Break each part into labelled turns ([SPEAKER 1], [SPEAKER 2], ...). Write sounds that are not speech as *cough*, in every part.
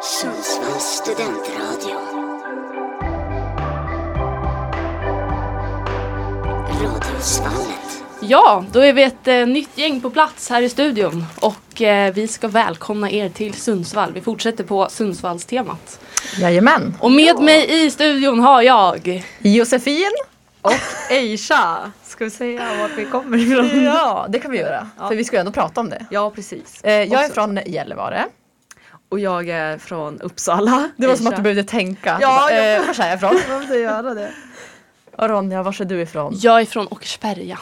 [SPEAKER 1] Sundsvalls studentradio. Radiosvallet.
[SPEAKER 2] Ja, då är vi ett eh, nytt gäng på plats här i studion och eh, vi ska välkomna er till Sundsvall. Vi fortsätter på Sundsvallstemat.
[SPEAKER 3] Jajamän.
[SPEAKER 2] Och med mig i studion har jag
[SPEAKER 3] Josefin. *laughs*
[SPEAKER 4] Aisha, ska vi säga vart vi kommer ifrån?
[SPEAKER 3] Ja, det kan vi göra.
[SPEAKER 4] Ja.
[SPEAKER 3] För vi ska ju ändå prata om det.
[SPEAKER 4] Ja, precis.
[SPEAKER 3] Eh, jag är
[SPEAKER 4] Också.
[SPEAKER 3] från Gällivare.
[SPEAKER 4] Och jag är från Uppsala.
[SPEAKER 3] Det var som att du
[SPEAKER 4] Aisha.
[SPEAKER 3] behövde tänka.
[SPEAKER 4] Ja,
[SPEAKER 3] Du bara,
[SPEAKER 4] jag-
[SPEAKER 3] eh, Vars är jag ifrån?
[SPEAKER 4] Jag behövde göra det.
[SPEAKER 3] Och Ronja, var är du ifrån?
[SPEAKER 2] Jag är från Åkersberga.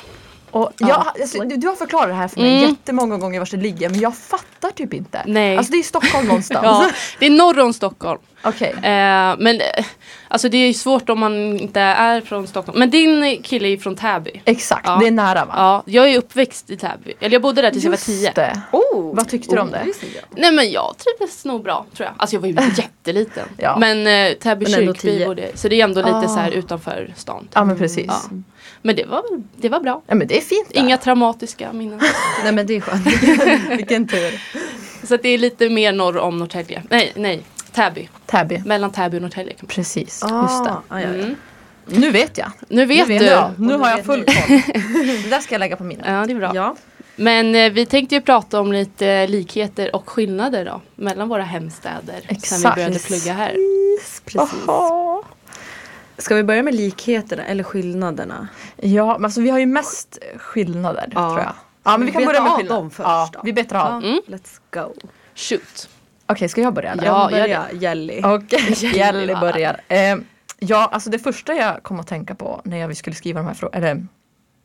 [SPEAKER 3] Och jag,
[SPEAKER 4] Ja.
[SPEAKER 3] alltså, du, du har förklarat det här för mig
[SPEAKER 2] Mm.
[SPEAKER 3] jättemånga gånger var det ligger men jag fattar typ inte.
[SPEAKER 2] Nej.
[SPEAKER 3] Alltså det är ju Stockholm någonstans.
[SPEAKER 2] Ja, det är norr om Stockholm.
[SPEAKER 3] Okej.
[SPEAKER 2] Eh, men eh, alltså det är ju svårt om man inte är från Stockholm. Men din kille är från Täby.
[SPEAKER 3] Exakt,
[SPEAKER 2] Ja.
[SPEAKER 3] det är nära va?
[SPEAKER 2] Ja, jag är uppväxt i Täby. Eller jag bodde där tills jag var tio.
[SPEAKER 3] det.
[SPEAKER 4] Oh,
[SPEAKER 3] Vad tyckte du om det?
[SPEAKER 4] visste inte jag.
[SPEAKER 2] Nej men jag trivdes nog bra tror jag. Alltså jag var ju jätteliten.
[SPEAKER 3] Ja.
[SPEAKER 2] Men eh, Täby
[SPEAKER 4] Men ändå
[SPEAKER 2] kyrkby
[SPEAKER 4] tio.
[SPEAKER 2] bodde jag i, Så det är ändå lite
[SPEAKER 3] Ah.
[SPEAKER 2] så här utanför stan.
[SPEAKER 3] Ja men precis.
[SPEAKER 2] Ja.
[SPEAKER 3] Ja.
[SPEAKER 2] Men det var, väl- det var bra.
[SPEAKER 3] men det är fint där.
[SPEAKER 2] Inga traumatiska minnen.
[SPEAKER 4] Nej men det är skönt. *laughs*
[SPEAKER 3] Vilken tur.
[SPEAKER 2] så att det är lite mer norr om Norrtälje. Nej, nej. Täby.
[SPEAKER 3] Täby.
[SPEAKER 2] Mellan Täby och Norrtälje. kan man-
[SPEAKER 3] Precis,
[SPEAKER 4] Ah,
[SPEAKER 3] just det.
[SPEAKER 4] ja, ja, ja.
[SPEAKER 2] Mm.
[SPEAKER 3] Nu vet jag.
[SPEAKER 2] Nu vet
[SPEAKER 3] nu
[SPEAKER 2] du.
[SPEAKER 3] jag.
[SPEAKER 4] Och
[SPEAKER 3] Nu
[SPEAKER 4] nu
[SPEAKER 3] har jag
[SPEAKER 4] vet
[SPEAKER 3] full
[SPEAKER 4] ni.
[SPEAKER 3] koll. Det där ska jag lägga på mina.
[SPEAKER 2] Ja, det är bra.
[SPEAKER 4] Ja.
[SPEAKER 2] Men eh, vi tänkte ju prata om lite eh, likheter och skillnader då. Mellan våra hemstäder. Sen vi
[SPEAKER 3] Exakt.
[SPEAKER 2] började plugga här.
[SPEAKER 4] Precis, precis. Ska vi börja med likheterna eller skillnaderna?
[SPEAKER 3] Ja, men alltså vi har ju mest skillnader
[SPEAKER 4] Ja.
[SPEAKER 3] tror jag. Ja, men vi kan
[SPEAKER 4] Beta
[SPEAKER 3] börja med
[SPEAKER 4] av
[SPEAKER 3] skillnader.
[SPEAKER 4] dem först
[SPEAKER 3] ja,
[SPEAKER 4] då.
[SPEAKER 3] vi betar av.
[SPEAKER 4] Ja,
[SPEAKER 3] Okej,
[SPEAKER 2] Mm.
[SPEAKER 4] Let's go.
[SPEAKER 2] Shoot.
[SPEAKER 3] ska jag börja? eller?
[SPEAKER 2] Ja,
[SPEAKER 4] Ja,
[SPEAKER 2] gör
[SPEAKER 4] börja Jelly.
[SPEAKER 3] Okej, Jelly
[SPEAKER 2] Gällivare.
[SPEAKER 3] börjar. Eh, ja, alltså det första jag kom att tänka på när jag skulle skriva de här, frå- eller,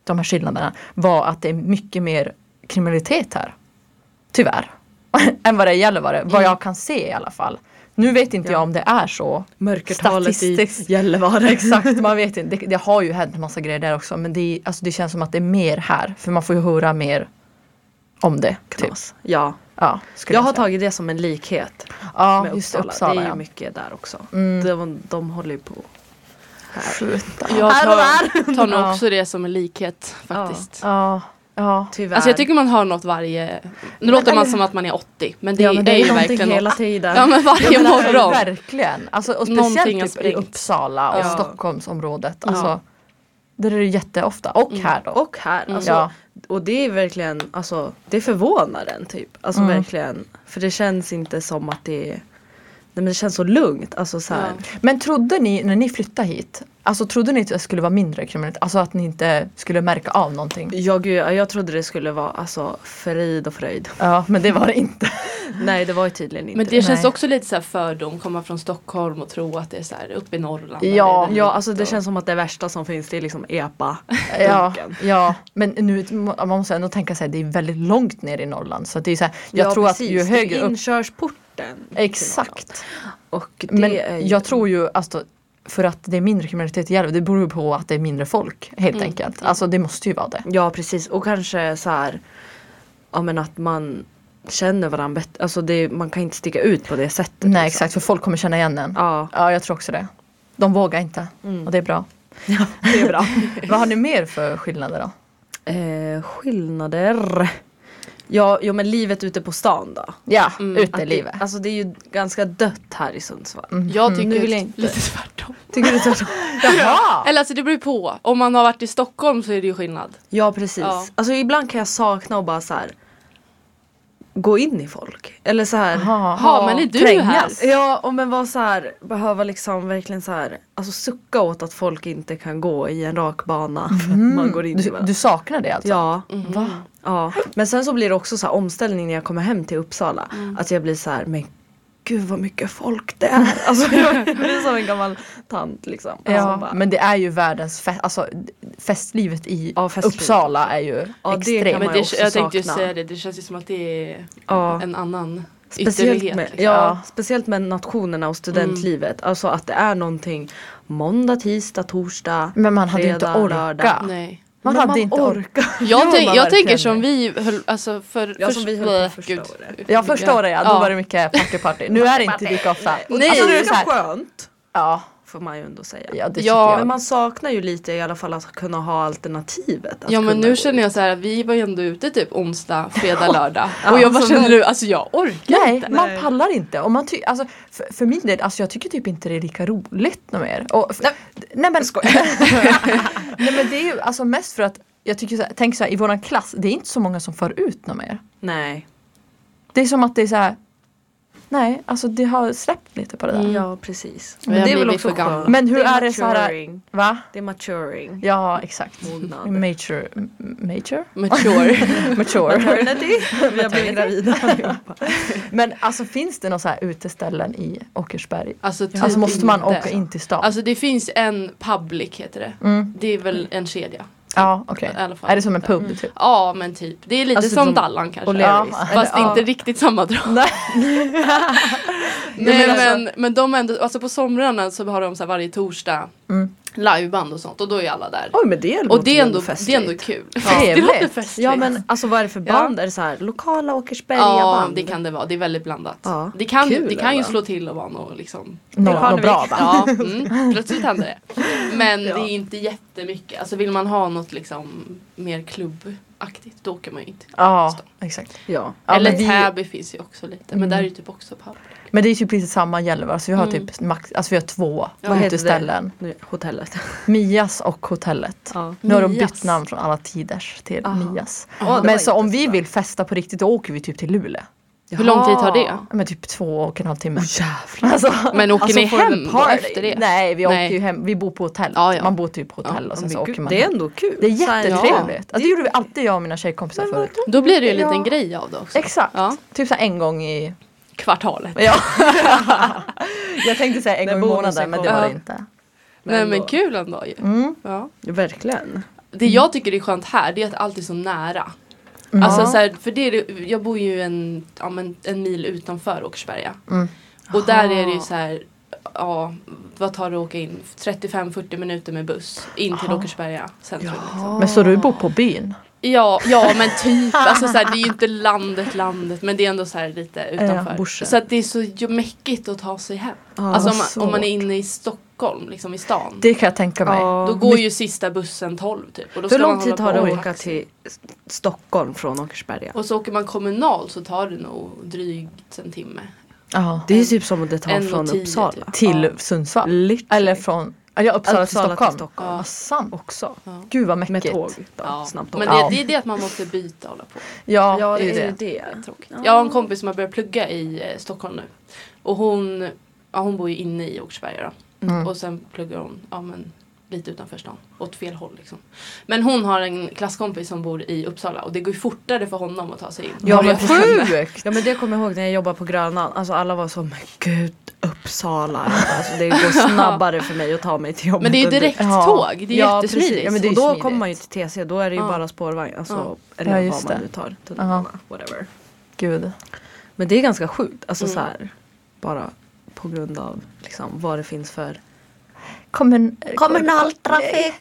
[SPEAKER 3] de här skillnaderna var att det är mycket mer kriminalitet här. Tyvärr. *laughs* Än vad det är i Gällivare, vad jag kan se i alla fall. Nu vet inte
[SPEAKER 4] Ja.
[SPEAKER 3] jag om det är så.
[SPEAKER 4] Mörkertalet i
[SPEAKER 3] Statistiskt.
[SPEAKER 4] *laughs* Gällivare.
[SPEAKER 3] Exakt, man vet inte. Det, det har ju hänt massa grejer där också men det, är- alltså det känns som att det är mer här för man får ju höra mer om det. Typ.
[SPEAKER 4] Knas. Ja.
[SPEAKER 3] Ja, skulle
[SPEAKER 4] Jag har
[SPEAKER 3] säga.
[SPEAKER 4] tagit det som en likhet.
[SPEAKER 3] ja,
[SPEAKER 4] med
[SPEAKER 3] just
[SPEAKER 4] Uppsala.
[SPEAKER 3] Uppsala. Uppsala
[SPEAKER 4] Det är ju
[SPEAKER 3] ja.
[SPEAKER 4] mycket där också.
[SPEAKER 3] Mm.
[SPEAKER 4] De, de håller ju på.
[SPEAKER 3] Skjuta.
[SPEAKER 2] Jag
[SPEAKER 4] Här och
[SPEAKER 2] tar, tar nog
[SPEAKER 3] Ja.
[SPEAKER 2] också det som en likhet faktiskt.
[SPEAKER 3] Ja, ja.
[SPEAKER 4] Tyvärr.
[SPEAKER 2] Alltså jag tycker man har något varje... Nu låter man som att man är 80 men det,
[SPEAKER 4] ja, men
[SPEAKER 2] är,
[SPEAKER 4] det är
[SPEAKER 2] ju
[SPEAKER 4] någonting
[SPEAKER 2] verkligen
[SPEAKER 4] hela
[SPEAKER 2] något.
[SPEAKER 4] tiden. *laughs*
[SPEAKER 2] Ja men varje
[SPEAKER 3] Ja, men alltså,
[SPEAKER 2] morgon.
[SPEAKER 3] Verkligen. Alltså, och
[SPEAKER 2] Någonting har
[SPEAKER 3] speciellt typ i
[SPEAKER 2] sprängt.
[SPEAKER 3] Uppsala och
[SPEAKER 4] Ja.
[SPEAKER 3] Stockholmsområdet.
[SPEAKER 2] Ja.
[SPEAKER 3] Alltså, Där är det jätteofta. Och här då.
[SPEAKER 4] Mm. Och här. Alltså,
[SPEAKER 3] Ja.
[SPEAKER 4] Och det är verkligen, alltså det förvånar en typ. Alltså
[SPEAKER 3] Mm.
[SPEAKER 4] verkligen. För det känns inte som att det är, nej men det känns så lugnt. Alltså så här.
[SPEAKER 2] Ja.
[SPEAKER 3] Men trodde ni när ni flyttade hit, alltså trodde ni att det skulle vara mindre kriminellt? Alltså att ni inte skulle märka av någonting?
[SPEAKER 4] Jag, gud, jag trodde det skulle vara alltså frid och fröjd. *laughs*
[SPEAKER 3] Ja, men det var det inte.
[SPEAKER 4] Nej det var ju tydligen inte
[SPEAKER 2] Men det känns
[SPEAKER 3] Nej.
[SPEAKER 2] också lite så här fördom, komma från Stockholm och tro att det är så här uppe i Norrland.
[SPEAKER 3] Ja.
[SPEAKER 2] eller-
[SPEAKER 4] Ja alltså det känns som att det värsta som finns det är liksom EPA.
[SPEAKER 3] Ja,
[SPEAKER 4] Dunken.
[SPEAKER 3] ja, men nu, man måste ändå tänka sig att det är väldigt långt ner i Norrland. Så att det är så här, jag
[SPEAKER 4] Ja,
[SPEAKER 3] tror
[SPEAKER 4] precis.
[SPEAKER 3] att ju
[SPEAKER 4] det
[SPEAKER 3] högre
[SPEAKER 4] är
[SPEAKER 3] upp...
[SPEAKER 4] inkörsporten. till Norrland.
[SPEAKER 3] Exakt.
[SPEAKER 4] Och det
[SPEAKER 3] Men
[SPEAKER 4] är ju,
[SPEAKER 3] jag tror ju alltså, för att det är mindre kriminalitet i Gävle, det beror ju på att det är mindre folk helt
[SPEAKER 4] Mm.
[SPEAKER 3] enkelt. Alltså det måste ju vara det.
[SPEAKER 4] Ja precis och kanske så här Ja men att man känner varandra bättre, alltså det, man kan inte sticka ut på det sättet.
[SPEAKER 3] Nej
[SPEAKER 4] liksom.
[SPEAKER 3] exakt, för folk kommer känna igen en. Ja,
[SPEAKER 4] Ja, Mm.
[SPEAKER 3] jag tror också det. De vågar inte och det är bra.
[SPEAKER 4] det är bra.
[SPEAKER 3] Vad har ni mer för skillnader då?
[SPEAKER 4] *laughs* eh, skillnader. Ja, jo men livet ute på stan då.
[SPEAKER 3] Ja,
[SPEAKER 2] Mm,
[SPEAKER 4] Att
[SPEAKER 3] utelivet.
[SPEAKER 4] Det, alltså det är ju ganska dött här i Sundsvall.
[SPEAKER 2] Jag tycker
[SPEAKER 4] Mm. Nu vill jag
[SPEAKER 2] att-
[SPEAKER 4] inte.
[SPEAKER 2] lite tvärtom.
[SPEAKER 4] Tycker du tvärtom? *laughs*
[SPEAKER 3] Jaha!
[SPEAKER 2] Eller alltså det beror ju på. Om man har varit i Stockholm så är det ju skillnad.
[SPEAKER 4] Ja precis.
[SPEAKER 2] Ja.
[SPEAKER 4] Alltså ibland kan jag sakna och bara så här gå in i folk. Eller så här.
[SPEAKER 3] Jaha.
[SPEAKER 2] Jaha, men är du
[SPEAKER 3] trängas.
[SPEAKER 2] här?
[SPEAKER 4] Ja, och men vara så här, behöva liksom verkligen så här, alltså sucka åt att folk inte kan gå i en rak bana *laughs* för att
[SPEAKER 2] Mhm.
[SPEAKER 4] man går in i
[SPEAKER 3] Du,
[SPEAKER 4] varandra.
[SPEAKER 3] du saknar det alltså?
[SPEAKER 4] Ja, Mhm.
[SPEAKER 3] Va?
[SPEAKER 4] ja. Men sen så blir det också så här omställning när jag kommer hem till Uppsala.
[SPEAKER 2] Mm.
[SPEAKER 4] Att jag blir så här, men gud vad mycket folk det är. *laughs* Alltså jag blir som en gammal tant liksom. Alltså,
[SPEAKER 3] Ja,
[SPEAKER 4] bara,
[SPEAKER 3] men det är ju världens fest, alltså festlivet i
[SPEAKER 4] Ja, festlivet.
[SPEAKER 3] Uppsala är ju
[SPEAKER 4] Ja, det
[SPEAKER 3] extremt.
[SPEAKER 4] kan
[SPEAKER 2] Men
[SPEAKER 4] man
[SPEAKER 2] det,
[SPEAKER 4] också
[SPEAKER 2] jag tänkte ju
[SPEAKER 4] sakna.
[SPEAKER 2] säga det, det känns ju som att det är
[SPEAKER 4] ja.
[SPEAKER 2] en annan
[SPEAKER 4] Speciellt
[SPEAKER 2] ytterlighet.
[SPEAKER 4] med,
[SPEAKER 2] liksom. Mm.
[SPEAKER 4] ja,
[SPEAKER 3] Ja.
[SPEAKER 4] speciellt med nationerna och studentlivet. Alltså att det är någonting måndag, tisdag, torsdag,
[SPEAKER 3] Men man hade ju inte
[SPEAKER 4] fredag,
[SPEAKER 3] orkat.
[SPEAKER 4] lördag.
[SPEAKER 2] Nej.
[SPEAKER 3] Man
[SPEAKER 4] Men
[SPEAKER 3] hade inte orkat.
[SPEAKER 2] *laughs* Jag,
[SPEAKER 3] Ja,
[SPEAKER 2] tänk,
[SPEAKER 3] man
[SPEAKER 2] jag tänker
[SPEAKER 3] verkligen.
[SPEAKER 2] som vi höll, alltså för,
[SPEAKER 4] Ja, som vi höll på första
[SPEAKER 2] Gud.
[SPEAKER 4] året.
[SPEAKER 3] Ja första året ja, då var det mycket party party. Nu är det inte lika ofta.
[SPEAKER 4] Och
[SPEAKER 2] Nej.
[SPEAKER 4] alltså, det är
[SPEAKER 3] så här-
[SPEAKER 4] ganska skönt.
[SPEAKER 3] Ja.
[SPEAKER 4] får man ju ändå säga.
[SPEAKER 3] Ja, det
[SPEAKER 2] Ja.
[SPEAKER 3] tycker
[SPEAKER 4] Men
[SPEAKER 3] jag.
[SPEAKER 4] man saknar ju lite i alla fall att kunna ha alternativet. Att
[SPEAKER 2] Ja men
[SPEAKER 4] kunna
[SPEAKER 2] nu
[SPEAKER 4] gå
[SPEAKER 2] känner jag så här, vi var ju ändå ute typ onsdag, fredag, lördag. och jag bara
[SPEAKER 4] alltså,
[SPEAKER 2] känner nu, alltså jag orkar
[SPEAKER 3] Nej,
[SPEAKER 2] inte.
[SPEAKER 3] man
[SPEAKER 4] Nej.
[SPEAKER 3] pallar inte. Och man ty- alltså, för, för min del, alltså, jag tycker typ inte det är lika roligt något mer. Och f- nej men, *laughs* nej, men det är ju alltså, mest för att jag tycker så här, tänk så här, i våran klass, det är inte så många som för ut något mer.
[SPEAKER 4] Nej.
[SPEAKER 3] Det är som att det är så här. Nej, alltså det har släppt lite på det där.
[SPEAKER 4] Ja precis.
[SPEAKER 2] Mm. Vi
[SPEAKER 4] Men
[SPEAKER 2] har
[SPEAKER 4] det är väl
[SPEAKER 2] blivit
[SPEAKER 4] också
[SPEAKER 2] för gamla.
[SPEAKER 4] skönt.
[SPEAKER 3] Men hur är det
[SPEAKER 4] maturing.
[SPEAKER 3] så här- Va?
[SPEAKER 4] Det är maturing.
[SPEAKER 3] Ja, exakt. *laughs*
[SPEAKER 4] Mognad.
[SPEAKER 3] Major, m- major?
[SPEAKER 4] *laughs*
[SPEAKER 2] Mature.
[SPEAKER 3] *laughs* Mature.
[SPEAKER 4] Maternity. Vi har blivit gravida allihopa.
[SPEAKER 3] Men alltså finns det några så här uteställen i Åkersberg?
[SPEAKER 2] Alltså, typ
[SPEAKER 3] Alltså måste man
[SPEAKER 2] inte.
[SPEAKER 3] åka in till stan?
[SPEAKER 2] Alltså det finns en public heter det.
[SPEAKER 3] Mm.
[SPEAKER 2] Det är väl en kedja.
[SPEAKER 3] Ja, okej.
[SPEAKER 2] I alla fall. Mm.
[SPEAKER 3] Är det som en pub typ?
[SPEAKER 2] Ja men typ. Det är lite
[SPEAKER 4] Alltså,
[SPEAKER 2] som
[SPEAKER 4] som
[SPEAKER 2] Dallan kanske.
[SPEAKER 3] O'Learys.
[SPEAKER 2] Ja, Fast
[SPEAKER 3] Eller,
[SPEAKER 2] inte
[SPEAKER 3] ja.
[SPEAKER 2] riktigt samma drag. *laughs*
[SPEAKER 3] Nej.
[SPEAKER 2] Nej
[SPEAKER 3] men
[SPEAKER 2] men,
[SPEAKER 3] alltså-
[SPEAKER 2] men, de är ändå, alltså på somrarna så har de så här varje torsdag
[SPEAKER 3] Mm.
[SPEAKER 2] liveband och sånt och då är alla där.
[SPEAKER 4] Oj men det är
[SPEAKER 2] och det är,
[SPEAKER 4] något
[SPEAKER 2] ändå, det är ändå kul. Det
[SPEAKER 3] Trevligt.
[SPEAKER 2] låter festligt.
[SPEAKER 4] Ja men alltså vad är det för
[SPEAKER 2] Ja.
[SPEAKER 4] band? Är det så här lokala Åkersberga
[SPEAKER 2] Ja
[SPEAKER 4] band?
[SPEAKER 2] det kan det vara, det är väldigt blandat.
[SPEAKER 4] Ja.
[SPEAKER 2] Det kan,
[SPEAKER 4] Kul,
[SPEAKER 2] det kan ju
[SPEAKER 4] ändå.
[SPEAKER 2] slå till och vara något liksom
[SPEAKER 3] Nå-
[SPEAKER 4] Parnevik.
[SPEAKER 3] Något bra va?
[SPEAKER 2] Ja, mm, *laughs* plötsligt händer det. Men
[SPEAKER 4] Ja.
[SPEAKER 2] det är inte jättemycket. Alltså vill man ha något liksom mer klubbaktigt då åker man ju inte.
[SPEAKER 3] Ja, exakt.
[SPEAKER 4] Ja.
[SPEAKER 3] Ja,
[SPEAKER 2] Eller
[SPEAKER 3] men, vi,
[SPEAKER 2] Täby finns ju också lite men där är ju typ också pub.
[SPEAKER 3] men det är typ lite samma Gällivare, alltså vi har
[SPEAKER 2] Mm.
[SPEAKER 3] typ max, alltså vi har två
[SPEAKER 4] Vad heter det?
[SPEAKER 3] uteställen.
[SPEAKER 4] Nu, hotellet.
[SPEAKER 3] Mias och hotellet.
[SPEAKER 4] Ja.
[SPEAKER 3] Nu har de bytt
[SPEAKER 2] Mias.
[SPEAKER 3] namn från alla tiders till
[SPEAKER 4] Aha.
[SPEAKER 3] Mias.
[SPEAKER 4] Ja, Ah. det var
[SPEAKER 3] men
[SPEAKER 4] inte
[SPEAKER 3] så om
[SPEAKER 4] så
[SPEAKER 3] vi
[SPEAKER 4] bra.
[SPEAKER 3] vill festa på riktigt då åker vi typ till Luleå.
[SPEAKER 2] Hur lång tid tar det?
[SPEAKER 3] Ja, Men typ två och en halv timme. *laughs*
[SPEAKER 4] Jävlar.
[SPEAKER 3] Alltså,
[SPEAKER 2] Men åker
[SPEAKER 3] alltså
[SPEAKER 2] ni
[SPEAKER 3] får det
[SPEAKER 2] hem
[SPEAKER 3] väl
[SPEAKER 2] då
[SPEAKER 3] party?
[SPEAKER 2] efter det?
[SPEAKER 3] Nej, vi
[SPEAKER 2] Nej.
[SPEAKER 3] åker ju hem. Vi bor på hotell.
[SPEAKER 2] Ja, ja.
[SPEAKER 3] Man bor typ på hotell
[SPEAKER 2] Ja,
[SPEAKER 3] och sen så
[SPEAKER 4] Men
[SPEAKER 3] åker
[SPEAKER 4] gud,
[SPEAKER 3] man
[SPEAKER 4] det är
[SPEAKER 3] hem.
[SPEAKER 4] ändå kul.
[SPEAKER 3] Det är
[SPEAKER 4] Så här,
[SPEAKER 3] jättetrevligt. Alltså, det gjorde vi alltid jag och mina tjejkompisar
[SPEAKER 4] Men
[SPEAKER 3] förut.
[SPEAKER 2] Då blir det ju en liten
[SPEAKER 4] Ja.
[SPEAKER 2] grej av det också.
[SPEAKER 3] Exakt.
[SPEAKER 2] Ja.
[SPEAKER 3] Typ så här en gång i...
[SPEAKER 2] Kvartalet.
[SPEAKER 3] Ja. *laughs* jag tänkte säga en
[SPEAKER 4] När
[SPEAKER 3] gång i månaden
[SPEAKER 4] bonusen
[SPEAKER 3] men det
[SPEAKER 2] kommer.
[SPEAKER 3] var det
[SPEAKER 2] Ja.
[SPEAKER 3] inte.
[SPEAKER 2] Nej
[SPEAKER 4] Men
[SPEAKER 2] men
[SPEAKER 4] då-
[SPEAKER 2] kul ändå ju.
[SPEAKER 3] Mm.
[SPEAKER 2] Ja.
[SPEAKER 4] Ja. Verkligen.
[SPEAKER 2] Det jag tycker är skönt här det är att allt är så nära.
[SPEAKER 4] Mm.
[SPEAKER 2] Alltså
[SPEAKER 3] Ja.
[SPEAKER 2] så här, för det är, det- jag bor ju en, ja, men en mil utanför Åkersberga.
[SPEAKER 3] Mm.
[SPEAKER 2] Och där
[SPEAKER 4] Aha.
[SPEAKER 2] är det ju så här, ja, vad tar det att åka in? 35-40 minuter med buss in till
[SPEAKER 3] Aha.
[SPEAKER 2] Åkersberga centrum. Liksom.
[SPEAKER 4] Ja.
[SPEAKER 3] Men så du bor på byn?
[SPEAKER 2] Ja, ja men typ, alltså så här, det är ju inte landet landet men det är ändå så här lite utanför.
[SPEAKER 3] Borsjö.
[SPEAKER 2] så att det är så ju- mäckigt att ta sig hem.
[SPEAKER 4] Ja,
[SPEAKER 2] alltså om
[SPEAKER 3] så.
[SPEAKER 2] man, om man är inne i Stockholm, liksom i stan.
[SPEAKER 3] Det kan jag tänka mig.
[SPEAKER 4] Ja.
[SPEAKER 2] Då går ju sista bussen 12 typ. Och då
[SPEAKER 4] Hur
[SPEAKER 2] ska man
[SPEAKER 4] lång tid
[SPEAKER 2] hålla
[SPEAKER 4] tar det
[SPEAKER 2] på
[SPEAKER 4] att
[SPEAKER 2] och
[SPEAKER 4] åka
[SPEAKER 2] taxi.
[SPEAKER 4] till S- Stockholm från Åkersberga?
[SPEAKER 2] Och så åker man kommunal så tar det nog drygt en timme.
[SPEAKER 3] Ja.
[SPEAKER 4] Det är typ som att det tar
[SPEAKER 2] En och
[SPEAKER 4] från
[SPEAKER 2] tio,
[SPEAKER 4] Uppsala.
[SPEAKER 2] typ.
[SPEAKER 3] Till
[SPEAKER 2] Ja.
[SPEAKER 3] Sundsvall?
[SPEAKER 4] Literally.
[SPEAKER 3] Eller från... Ja, Uppsala, till
[SPEAKER 4] Uppsala till
[SPEAKER 3] Stockholm?
[SPEAKER 4] Stockholm.
[SPEAKER 3] Ja, sant.
[SPEAKER 4] Också.
[SPEAKER 3] Gud vad
[SPEAKER 4] Med
[SPEAKER 3] mäckigt.
[SPEAKER 4] tåg. Då.
[SPEAKER 2] Ja.
[SPEAKER 4] Snabbtåg.
[SPEAKER 2] Men
[SPEAKER 3] Ja.
[SPEAKER 2] det, det är det att man måste byta och hålla på.
[SPEAKER 3] Ja,
[SPEAKER 4] Ja,
[SPEAKER 3] det är ju
[SPEAKER 4] det.
[SPEAKER 3] det.
[SPEAKER 4] det.
[SPEAKER 2] Tråkigt. Jag har en kompis som har börjat plugga i eh, Stockholm nu. Och hon, ja, hon bor ju inne i Åkersberga då.
[SPEAKER 3] Mm.
[SPEAKER 2] Och sen pluggar hon ja, men, lite utanför stan. Åt fel håll liksom. Men hon har en klasskompis som bor i Uppsala och det går ju fortare för honom att ta sig in.
[SPEAKER 3] Ja, men
[SPEAKER 2] För-
[SPEAKER 3] sjukt!
[SPEAKER 4] Ja men det kommer jag ihåg när jag jobbade på Grönan. Alltså alla var så, men gud Uppsala. Alltså, det går
[SPEAKER 2] *laughs*
[SPEAKER 4] snabbare för mig att ta mig till jobbet.
[SPEAKER 2] Men det är ju
[SPEAKER 4] än
[SPEAKER 2] direkt
[SPEAKER 3] Ja.
[SPEAKER 2] tåg. Det är
[SPEAKER 4] ja,
[SPEAKER 2] jättesmidigt.
[SPEAKER 4] precis. Ja, men
[SPEAKER 3] det är
[SPEAKER 4] och då
[SPEAKER 3] smidigt.
[SPEAKER 4] kommer man ju till TC, då är det ju
[SPEAKER 2] Ja.
[SPEAKER 4] bara spårvagn. Alltså,
[SPEAKER 3] Ja,
[SPEAKER 4] Eller vad
[SPEAKER 3] just
[SPEAKER 4] man
[SPEAKER 3] det.
[SPEAKER 4] nu tar. Tunnelbana, whatever.
[SPEAKER 3] Gud.
[SPEAKER 4] Men det är ganska sjukt. Alltså
[SPEAKER 2] Mm.
[SPEAKER 4] så här, bara på grund av liksom, vad det finns för
[SPEAKER 3] Kommun,
[SPEAKER 4] Kommunaltrafik.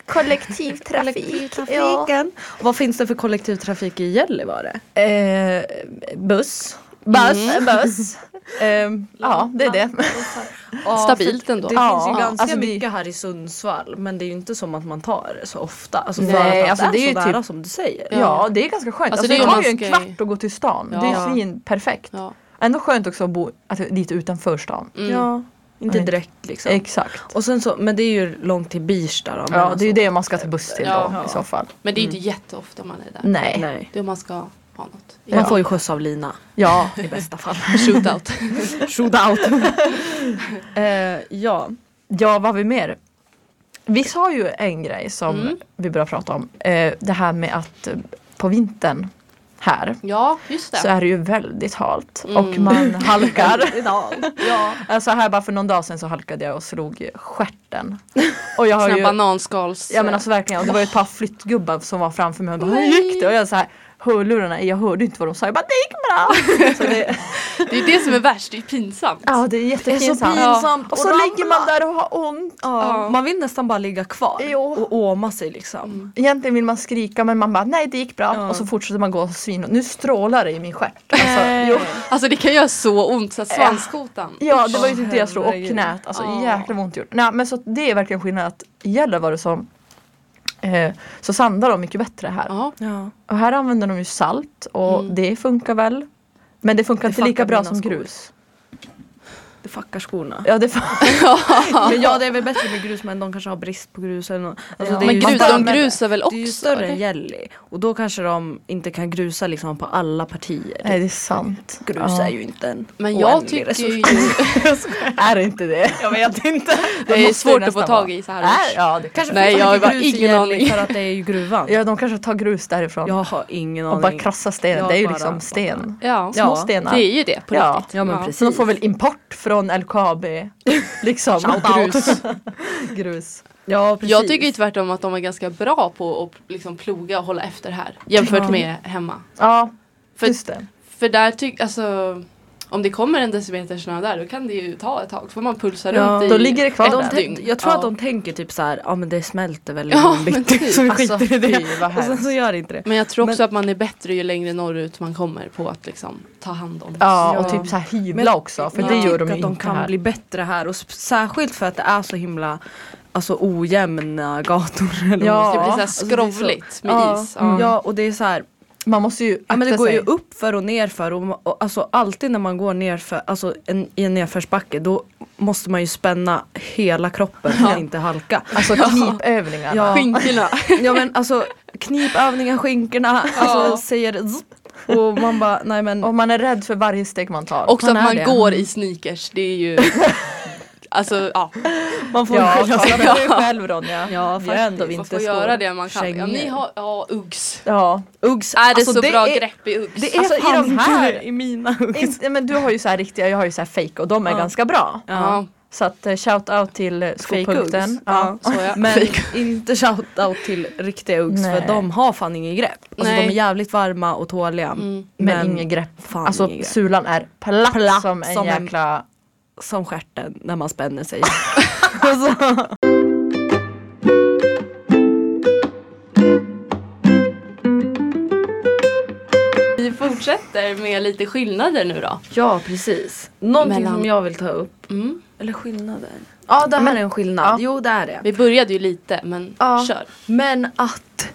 [SPEAKER 3] Kollektivtrafik. Ja.
[SPEAKER 4] kollektivtrafiken. Och vad finns det för kollektivtrafik i Gällivare?
[SPEAKER 3] Eh, buss. Buss. buss. *laughs* Ehm, ja, det är det.
[SPEAKER 4] Ja,
[SPEAKER 2] Stabilt
[SPEAKER 4] för
[SPEAKER 2] ändå.
[SPEAKER 4] Det
[SPEAKER 3] Ja,
[SPEAKER 4] finns ju ganska
[SPEAKER 3] alltså det-
[SPEAKER 4] mycket här i Sundsvall men det är ju inte som att man tar det så ofta. Alltså för
[SPEAKER 3] Nej,
[SPEAKER 4] att
[SPEAKER 3] alltså
[SPEAKER 4] det är,
[SPEAKER 3] det är ju
[SPEAKER 4] så nära
[SPEAKER 3] typ-
[SPEAKER 4] som du säger.
[SPEAKER 3] *laughs* Ja, det är ganska skönt.
[SPEAKER 2] Alltså,
[SPEAKER 3] Alltså,
[SPEAKER 2] det är
[SPEAKER 3] det
[SPEAKER 2] ju
[SPEAKER 3] tar
[SPEAKER 2] man
[SPEAKER 3] ju en
[SPEAKER 2] ska ju-
[SPEAKER 3] kvart att gå till stan. Det
[SPEAKER 2] Ja.
[SPEAKER 3] är svin perfekt.
[SPEAKER 2] Ja.
[SPEAKER 3] Ändå skönt också att bo alltså, lite utanför stan.
[SPEAKER 2] Mm.
[SPEAKER 4] Ja, inte
[SPEAKER 3] Nej.
[SPEAKER 4] direkt liksom.
[SPEAKER 3] Exakt.
[SPEAKER 4] och sen så, men det är ju långt till Birsta då. men
[SPEAKER 3] Ja,
[SPEAKER 4] alltså-
[SPEAKER 3] det är ju det man ska ta buss till
[SPEAKER 2] Ja.
[SPEAKER 3] då i så fall.
[SPEAKER 2] Men det är ju inte jätteofta man är där.
[SPEAKER 3] Mm. Nej.
[SPEAKER 4] Nej.
[SPEAKER 2] Det är om man ska ha något.
[SPEAKER 4] Man
[SPEAKER 3] Ja.
[SPEAKER 4] får ju skjuts av Lina
[SPEAKER 3] Ja.
[SPEAKER 4] *laughs* i bästa fall.
[SPEAKER 2] Shootout. *laughs*
[SPEAKER 4] Shootout. ja.
[SPEAKER 3] Eh, ja, vad har vi mer? Vi sa ju en grej som
[SPEAKER 2] Mm.
[SPEAKER 3] vi började prata om. Eh, det här med att eh, på vintern här
[SPEAKER 2] Ja, just det.
[SPEAKER 3] så är det ju väldigt halt
[SPEAKER 2] Mm.
[SPEAKER 3] och man
[SPEAKER 2] *laughs*
[SPEAKER 3] halkar.
[SPEAKER 4] Idag.
[SPEAKER 2] ja.
[SPEAKER 3] Alltså här bara för någon dag sedan så halkade jag och slog stjärten. Och jag har
[SPEAKER 2] Såna
[SPEAKER 3] ju,
[SPEAKER 2] bananskals...
[SPEAKER 4] alltså-
[SPEAKER 3] ja men alltså verkligen, och det var ju ett par flyttgubbar som var framför mig och bara hur gick det? Och jag så här, hörlurarna i. Jag hörde inte vad de sa. Jag bara det gick bra!
[SPEAKER 2] *laughs*
[SPEAKER 3] Så det,
[SPEAKER 2] Det är det som är värst, det är pinsamt.
[SPEAKER 3] ja det är jättepinsamt.
[SPEAKER 4] pinsamt
[SPEAKER 3] Och så
[SPEAKER 4] ramla.
[SPEAKER 3] ligger man där och har ont.
[SPEAKER 4] Ja,
[SPEAKER 2] Ja.
[SPEAKER 4] Man vill nästan bara ligga kvar
[SPEAKER 3] Jo.
[SPEAKER 4] och åma sig liksom.
[SPEAKER 3] Egentligen vill man skrika men man bara nej det gick bra
[SPEAKER 4] Ja.
[SPEAKER 3] och så fortsätter man gå och svin och nu strålar det i min stjärt. Alltså, jo.
[SPEAKER 2] Alltså det kan göra så ont så att
[SPEAKER 4] Äh.
[SPEAKER 2] svanskotan.
[SPEAKER 3] Ja det
[SPEAKER 4] Usch.
[SPEAKER 3] var ju typ det jag slog och
[SPEAKER 4] Herregud.
[SPEAKER 3] knät. Alltså
[SPEAKER 2] Ja.
[SPEAKER 3] jäkla vad ont det gjorde. Nej men så att det är verkligen skillnad att i Gällivare så, eh, så sandar de mycket bättre här.
[SPEAKER 2] Ja.
[SPEAKER 4] Ja.
[SPEAKER 3] Och här använder de ju salt och
[SPEAKER 2] Mm.
[SPEAKER 3] det funkar väl. Men det funkar
[SPEAKER 4] Det
[SPEAKER 3] inte lika
[SPEAKER 4] fuckar
[SPEAKER 3] bra
[SPEAKER 4] mina
[SPEAKER 3] som
[SPEAKER 4] skor.
[SPEAKER 3] grus.
[SPEAKER 4] Det fuckar skorna.
[SPEAKER 3] Ja det
[SPEAKER 4] *laughs* Men ja det är väl bättre med grus men de kanske har brist på grus eller något. Alltså,
[SPEAKER 3] Ja.
[SPEAKER 4] det är
[SPEAKER 2] Men
[SPEAKER 4] ju
[SPEAKER 2] grus,
[SPEAKER 4] större-
[SPEAKER 2] de grusar väl också?
[SPEAKER 4] Det är ju större än
[SPEAKER 2] eller?
[SPEAKER 4] jelly och då kanske de inte kan grusa liksom på alla partier.
[SPEAKER 3] *laughs* Nej det är sant.
[SPEAKER 4] Grus
[SPEAKER 3] ja.
[SPEAKER 4] är ju inte en
[SPEAKER 2] Men
[SPEAKER 4] oändlig
[SPEAKER 2] jag tycker
[SPEAKER 4] resurs.
[SPEAKER 2] ju
[SPEAKER 3] Är det inte det?
[SPEAKER 4] *laughs* Jag vet inte.
[SPEAKER 2] det är
[SPEAKER 3] måste
[SPEAKER 2] svårt
[SPEAKER 3] ju
[SPEAKER 2] att få
[SPEAKER 3] nästan
[SPEAKER 2] tag
[SPEAKER 3] vara.
[SPEAKER 2] i så här
[SPEAKER 3] Är,
[SPEAKER 2] års.
[SPEAKER 3] ja, det kanske.
[SPEAKER 4] Kanske
[SPEAKER 2] Nej,
[SPEAKER 4] finns
[SPEAKER 2] jag
[SPEAKER 4] inte
[SPEAKER 2] har
[SPEAKER 4] grus
[SPEAKER 2] ingen
[SPEAKER 4] i Gällivare
[SPEAKER 2] aning.
[SPEAKER 4] för att det är ju gruvan.
[SPEAKER 3] ja de kanske tar grus därifrån
[SPEAKER 4] Jag har ingen aning.
[SPEAKER 3] och bara krossar stenen.
[SPEAKER 4] Jag
[SPEAKER 3] det är ju
[SPEAKER 4] bara-
[SPEAKER 3] liksom sten.
[SPEAKER 2] *laughs* Ja.
[SPEAKER 4] Ja.
[SPEAKER 3] Små stenar.
[SPEAKER 2] det är ju det på
[SPEAKER 3] Ja.
[SPEAKER 2] riktigt.
[SPEAKER 4] Ja, men
[SPEAKER 3] Så de får väl import från LKAB.
[SPEAKER 4] *laughs*
[SPEAKER 3] Liksom. grus. *laughs* grus.
[SPEAKER 4] Ja precis.
[SPEAKER 2] Jag tycker ju tvärtom att de är ganska bra på att liksom ploga och hålla efter här jämfört
[SPEAKER 3] Ja.
[SPEAKER 2] med hemma.
[SPEAKER 3] Ja,
[SPEAKER 2] För-
[SPEAKER 3] just det.
[SPEAKER 2] För där tycker, alltså om det kommer en decimeter snö där då kan det ju ta ett tag. Då får man pulsa
[SPEAKER 4] Ja.
[SPEAKER 2] runt i
[SPEAKER 3] Då ligger det kvar
[SPEAKER 2] ett
[SPEAKER 3] där.
[SPEAKER 4] de
[SPEAKER 2] dygn.
[SPEAKER 4] tänk, jag tror
[SPEAKER 2] Ja.
[SPEAKER 4] att de tänker typ så här, ja men det smälter väl
[SPEAKER 2] Ja,
[SPEAKER 4] imorgon
[SPEAKER 2] men
[SPEAKER 4] bitti,
[SPEAKER 2] typ.
[SPEAKER 4] så vi
[SPEAKER 3] Alltså,
[SPEAKER 4] skiter i
[SPEAKER 3] fy,
[SPEAKER 4] det.
[SPEAKER 3] vad
[SPEAKER 4] Och sen så
[SPEAKER 3] hemskt.
[SPEAKER 4] gör det inte det.
[SPEAKER 2] Men jag tror också att man är bättre ju längre norrut man kommer på att liksom ta hand om
[SPEAKER 3] Ja, och
[SPEAKER 4] Ja.
[SPEAKER 3] typ så här
[SPEAKER 4] Men
[SPEAKER 3] hyvla
[SPEAKER 4] jag
[SPEAKER 3] också. För
[SPEAKER 4] tycker
[SPEAKER 3] det gör de ju
[SPEAKER 4] att de
[SPEAKER 3] inte
[SPEAKER 4] kan
[SPEAKER 3] här.
[SPEAKER 4] bli bättre här och s- särskilt för att det är så himla alltså, ojämna gator. Eller
[SPEAKER 3] Ja.
[SPEAKER 4] vad man
[SPEAKER 2] Det
[SPEAKER 4] ska-
[SPEAKER 2] blir såhär
[SPEAKER 3] Ja,
[SPEAKER 4] alltså, det är så-
[SPEAKER 2] skrovligt med
[SPEAKER 4] ja. Mm.
[SPEAKER 2] is. Ja.
[SPEAKER 4] Ja och det är så här,
[SPEAKER 3] Man måste ju
[SPEAKER 4] ja, men det
[SPEAKER 3] akta
[SPEAKER 4] går ju
[SPEAKER 3] sig.
[SPEAKER 4] upp för och ner för och, ma- och alltså, alltid när man går nerför, alltså en, i en nedförsbacke då måste man ju spänna hela kroppen för att inte halka. *laughs*
[SPEAKER 3] Alltså knipövningarna.
[SPEAKER 4] Ja. *laughs*
[SPEAKER 2] Skinkorna.
[SPEAKER 4] Ja men alltså knipövningar, skinkorna, alltså säger zzz, och man bara nej men
[SPEAKER 3] Och man är rädd för varje steg man tar.
[SPEAKER 2] Också
[SPEAKER 4] Man
[SPEAKER 2] att man
[SPEAKER 4] är det.
[SPEAKER 2] går i sneakers, det är
[SPEAKER 4] *laughs*
[SPEAKER 2] ju Alltså ja,
[SPEAKER 4] man får
[SPEAKER 3] Ja,
[SPEAKER 4] skylla sig *laughs*
[SPEAKER 3] tala för dig
[SPEAKER 4] själv.
[SPEAKER 3] själv Ronja.
[SPEAKER 4] Ja
[SPEAKER 3] Vi är ändå
[SPEAKER 4] faktiskt.
[SPEAKER 2] man
[SPEAKER 3] inte
[SPEAKER 2] får
[SPEAKER 3] stora.
[SPEAKER 2] göra det man kan. Ja, ni
[SPEAKER 4] kängor.
[SPEAKER 2] har, ja Uggs.
[SPEAKER 3] Ja.
[SPEAKER 4] Uggs,
[SPEAKER 2] Är det
[SPEAKER 4] alltså,
[SPEAKER 2] så bra
[SPEAKER 4] är-
[SPEAKER 2] grepp i Uggs?
[SPEAKER 4] Det är
[SPEAKER 3] Alltså, i
[SPEAKER 4] fan
[SPEAKER 3] de
[SPEAKER 4] inte
[SPEAKER 3] här-
[SPEAKER 4] det i mina Uggs.
[SPEAKER 3] Inte, men du har ju så här riktiga, jag har ju så här fake och de är
[SPEAKER 4] Ja.
[SPEAKER 3] ganska bra.
[SPEAKER 2] ja.
[SPEAKER 3] Så att eh, shout out till eh, skopunkten. Ja.
[SPEAKER 2] så ja.
[SPEAKER 4] *laughs* Men
[SPEAKER 2] Fake.
[SPEAKER 4] inte shoutout till riktiga Uggs
[SPEAKER 3] Nej.
[SPEAKER 4] för de har fan ingen grepp. Alltså
[SPEAKER 2] Nej.
[SPEAKER 4] de är jävligt varma och tåliga.
[SPEAKER 2] Mm.
[SPEAKER 3] Men, inget grepp.
[SPEAKER 4] Fan
[SPEAKER 3] Alltså
[SPEAKER 4] ingen grepp.
[SPEAKER 3] sulan är platt,
[SPEAKER 4] Platt
[SPEAKER 3] som en
[SPEAKER 4] som en-
[SPEAKER 3] jäkla
[SPEAKER 4] Som stjärten när man spänner sig. alltså.
[SPEAKER 2] Vi fortsätter med lite skillnader nu då.
[SPEAKER 4] Ja precis. Någonting
[SPEAKER 2] Mellan-
[SPEAKER 4] som jag vill ta upp.
[SPEAKER 2] Mm.
[SPEAKER 4] Eller skillnader. Ja det här
[SPEAKER 3] Men-
[SPEAKER 4] är en skillnad.
[SPEAKER 3] Ja.
[SPEAKER 4] Jo det är det.
[SPEAKER 2] Vi började ju lite men
[SPEAKER 4] Ja.
[SPEAKER 2] kör.
[SPEAKER 4] Men att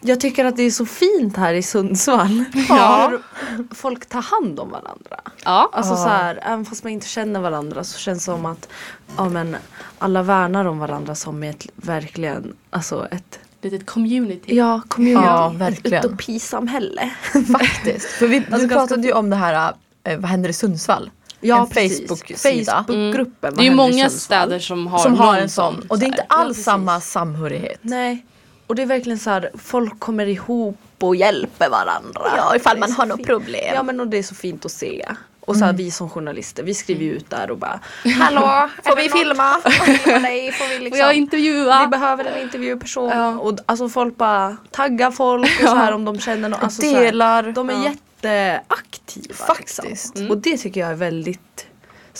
[SPEAKER 4] jag tycker att det är så fint här i Sundsvall.
[SPEAKER 3] Ja.
[SPEAKER 4] *laughs* Hur Folk tar hand om varandra.
[SPEAKER 2] Ja.
[SPEAKER 4] Alltså
[SPEAKER 3] Ja.
[SPEAKER 4] så här, även fast man inte känner varandra så känns det som att ja, men, alla värnar om varandra som ett verkligen, alltså ett
[SPEAKER 2] Litet community.
[SPEAKER 4] ja, community,
[SPEAKER 3] Ja,
[SPEAKER 4] ett
[SPEAKER 3] verkligen.
[SPEAKER 4] utopisamhälle.
[SPEAKER 3] *laughs* Faktiskt. För vi, du
[SPEAKER 4] ganska-
[SPEAKER 3] pratade ju om det här, eh, vad händer i Sundsvall? en Facebook-sida.
[SPEAKER 4] Facebookgruppen.
[SPEAKER 2] Det är ju
[SPEAKER 4] vad händer i
[SPEAKER 2] många
[SPEAKER 4] Sundsvall?
[SPEAKER 2] städer som har,
[SPEAKER 3] Som har
[SPEAKER 2] någon
[SPEAKER 3] en sån. Och det är inte
[SPEAKER 2] så här.
[SPEAKER 3] alls samma samhörighet.
[SPEAKER 4] Nej, och det är verkligen så här, folk kommer ihop och hjälper varandra. Det är så fint.
[SPEAKER 3] problem.
[SPEAKER 4] Ja men och det är så fint att se. Och så här, vi som journalister, vi skriver ju ut där och bara Hallå, får vi filma? *laughs* Får vi filma dig? Får vi
[SPEAKER 2] Får
[SPEAKER 4] liksom...
[SPEAKER 2] jag
[SPEAKER 4] Vi
[SPEAKER 2] intervjua?
[SPEAKER 4] behöver en intervjuperson.
[SPEAKER 2] Ja.
[SPEAKER 4] Och, alltså folk bara taggar folk och så här om de känner någon. Alltså, så här,
[SPEAKER 3] Delar.
[SPEAKER 4] de är
[SPEAKER 2] Ja.
[SPEAKER 4] jätteaktiva.
[SPEAKER 3] Faktiskt.
[SPEAKER 4] Liksom. Och det tycker jag är väldigt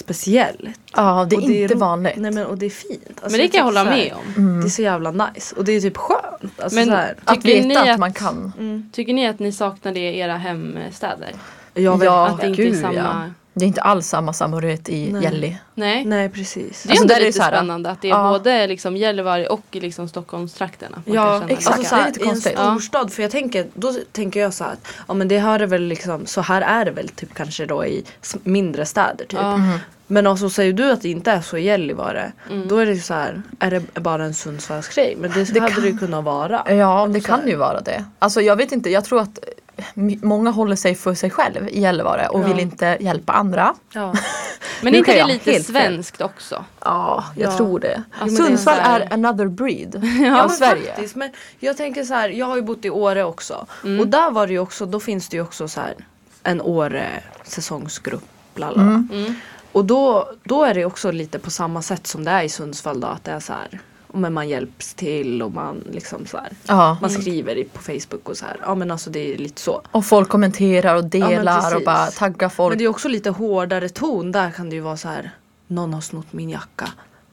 [SPEAKER 4] speciellt.
[SPEAKER 3] Ja, det är
[SPEAKER 4] och
[SPEAKER 3] inte
[SPEAKER 4] ro-
[SPEAKER 3] vanligt. Mm.
[SPEAKER 4] Nej, men, och det är fint. Alltså,
[SPEAKER 2] Men det kan jag hålla
[SPEAKER 4] tycker så
[SPEAKER 2] med
[SPEAKER 4] här,
[SPEAKER 2] om.
[SPEAKER 4] Det är så jävla nice. Och det är typ skönt. Alltså,
[SPEAKER 2] Men-
[SPEAKER 4] så här,
[SPEAKER 3] att
[SPEAKER 2] Tycker ni
[SPEAKER 3] veta att
[SPEAKER 2] att-
[SPEAKER 3] man kan.
[SPEAKER 2] Tycker ni att ni saknar det i era hemstäder?
[SPEAKER 4] jag vet,
[SPEAKER 3] Ja,
[SPEAKER 2] att det inte är
[SPEAKER 3] gud
[SPEAKER 2] samma-
[SPEAKER 3] ja. Det är inte alls samma samhörighet i
[SPEAKER 4] Nej.
[SPEAKER 3] Gälli.
[SPEAKER 2] Nej.
[SPEAKER 4] Nej precis.
[SPEAKER 2] Det är
[SPEAKER 3] Alltså,
[SPEAKER 2] ändå
[SPEAKER 3] där är det
[SPEAKER 2] lite
[SPEAKER 3] så här,
[SPEAKER 2] spännande att det är
[SPEAKER 3] ja.
[SPEAKER 2] både liksom Gällivare och i liksom Stockholmstrakterna. att man kan
[SPEAKER 4] Ja
[SPEAKER 2] känna det.
[SPEAKER 4] exakt,
[SPEAKER 3] lika.
[SPEAKER 4] alltså,
[SPEAKER 3] Det är
[SPEAKER 4] såhär,
[SPEAKER 3] lite
[SPEAKER 4] i en
[SPEAKER 3] konstigt.
[SPEAKER 4] storstad för jag tänker, då tänker jag så här att ja men det här är väl liksom, så här är det väl typ kanske då i s- mindre städer typ.
[SPEAKER 2] Ja.
[SPEAKER 3] Mm.
[SPEAKER 4] Men alltså säger du att det inte är så i Gällivare
[SPEAKER 2] Mm.
[SPEAKER 4] då är det ju så här, är det bara en Sundsvallsgrej? Men det, hade det ju kunnat vara.
[SPEAKER 3] Ja, det kan
[SPEAKER 4] här.
[SPEAKER 3] ju vara det. Alltså jag vet inte, jag tror att eh, m- många håller sig för sig själv i Gällivare och vill inte hjälpa andra. *laughs*
[SPEAKER 4] Ja.
[SPEAKER 2] Men
[SPEAKER 3] Alltså, Nu
[SPEAKER 2] är inte
[SPEAKER 3] kan
[SPEAKER 2] det
[SPEAKER 3] jag
[SPEAKER 2] lite
[SPEAKER 3] helt fel.
[SPEAKER 2] svenskt också?
[SPEAKER 3] Ja, jag
[SPEAKER 4] Ja.
[SPEAKER 3] tror det.
[SPEAKER 2] men det är
[SPEAKER 3] Sundsvall
[SPEAKER 2] så
[SPEAKER 3] är,
[SPEAKER 2] här-
[SPEAKER 3] another
[SPEAKER 2] *laughs*
[SPEAKER 3] breed
[SPEAKER 4] Ja,
[SPEAKER 3] av
[SPEAKER 4] men
[SPEAKER 3] Sverige.
[SPEAKER 4] faktiskt. Men jag tänker så här, jag har ju bott i Åre också. Och där var det ju också, då finns det ju också så här en Åre säsongsgrupp. Bla bla.
[SPEAKER 3] Mm.
[SPEAKER 4] bla. Och då, då är det ju också lite på samma sätt som det är i Sundsvall då. Att det är så här, Och Men man hjälps till och man liksom så här.
[SPEAKER 3] Ja.
[SPEAKER 4] Man skriver i- på Facebook och så här. Ja men alltså det är lite så.
[SPEAKER 3] Och folk kommenterar och delar och
[SPEAKER 4] precis.
[SPEAKER 3] bara taggar folk.
[SPEAKER 4] Men det är också lite hårdare ton. Där kan det ju vara så här. Någon har snott min jacka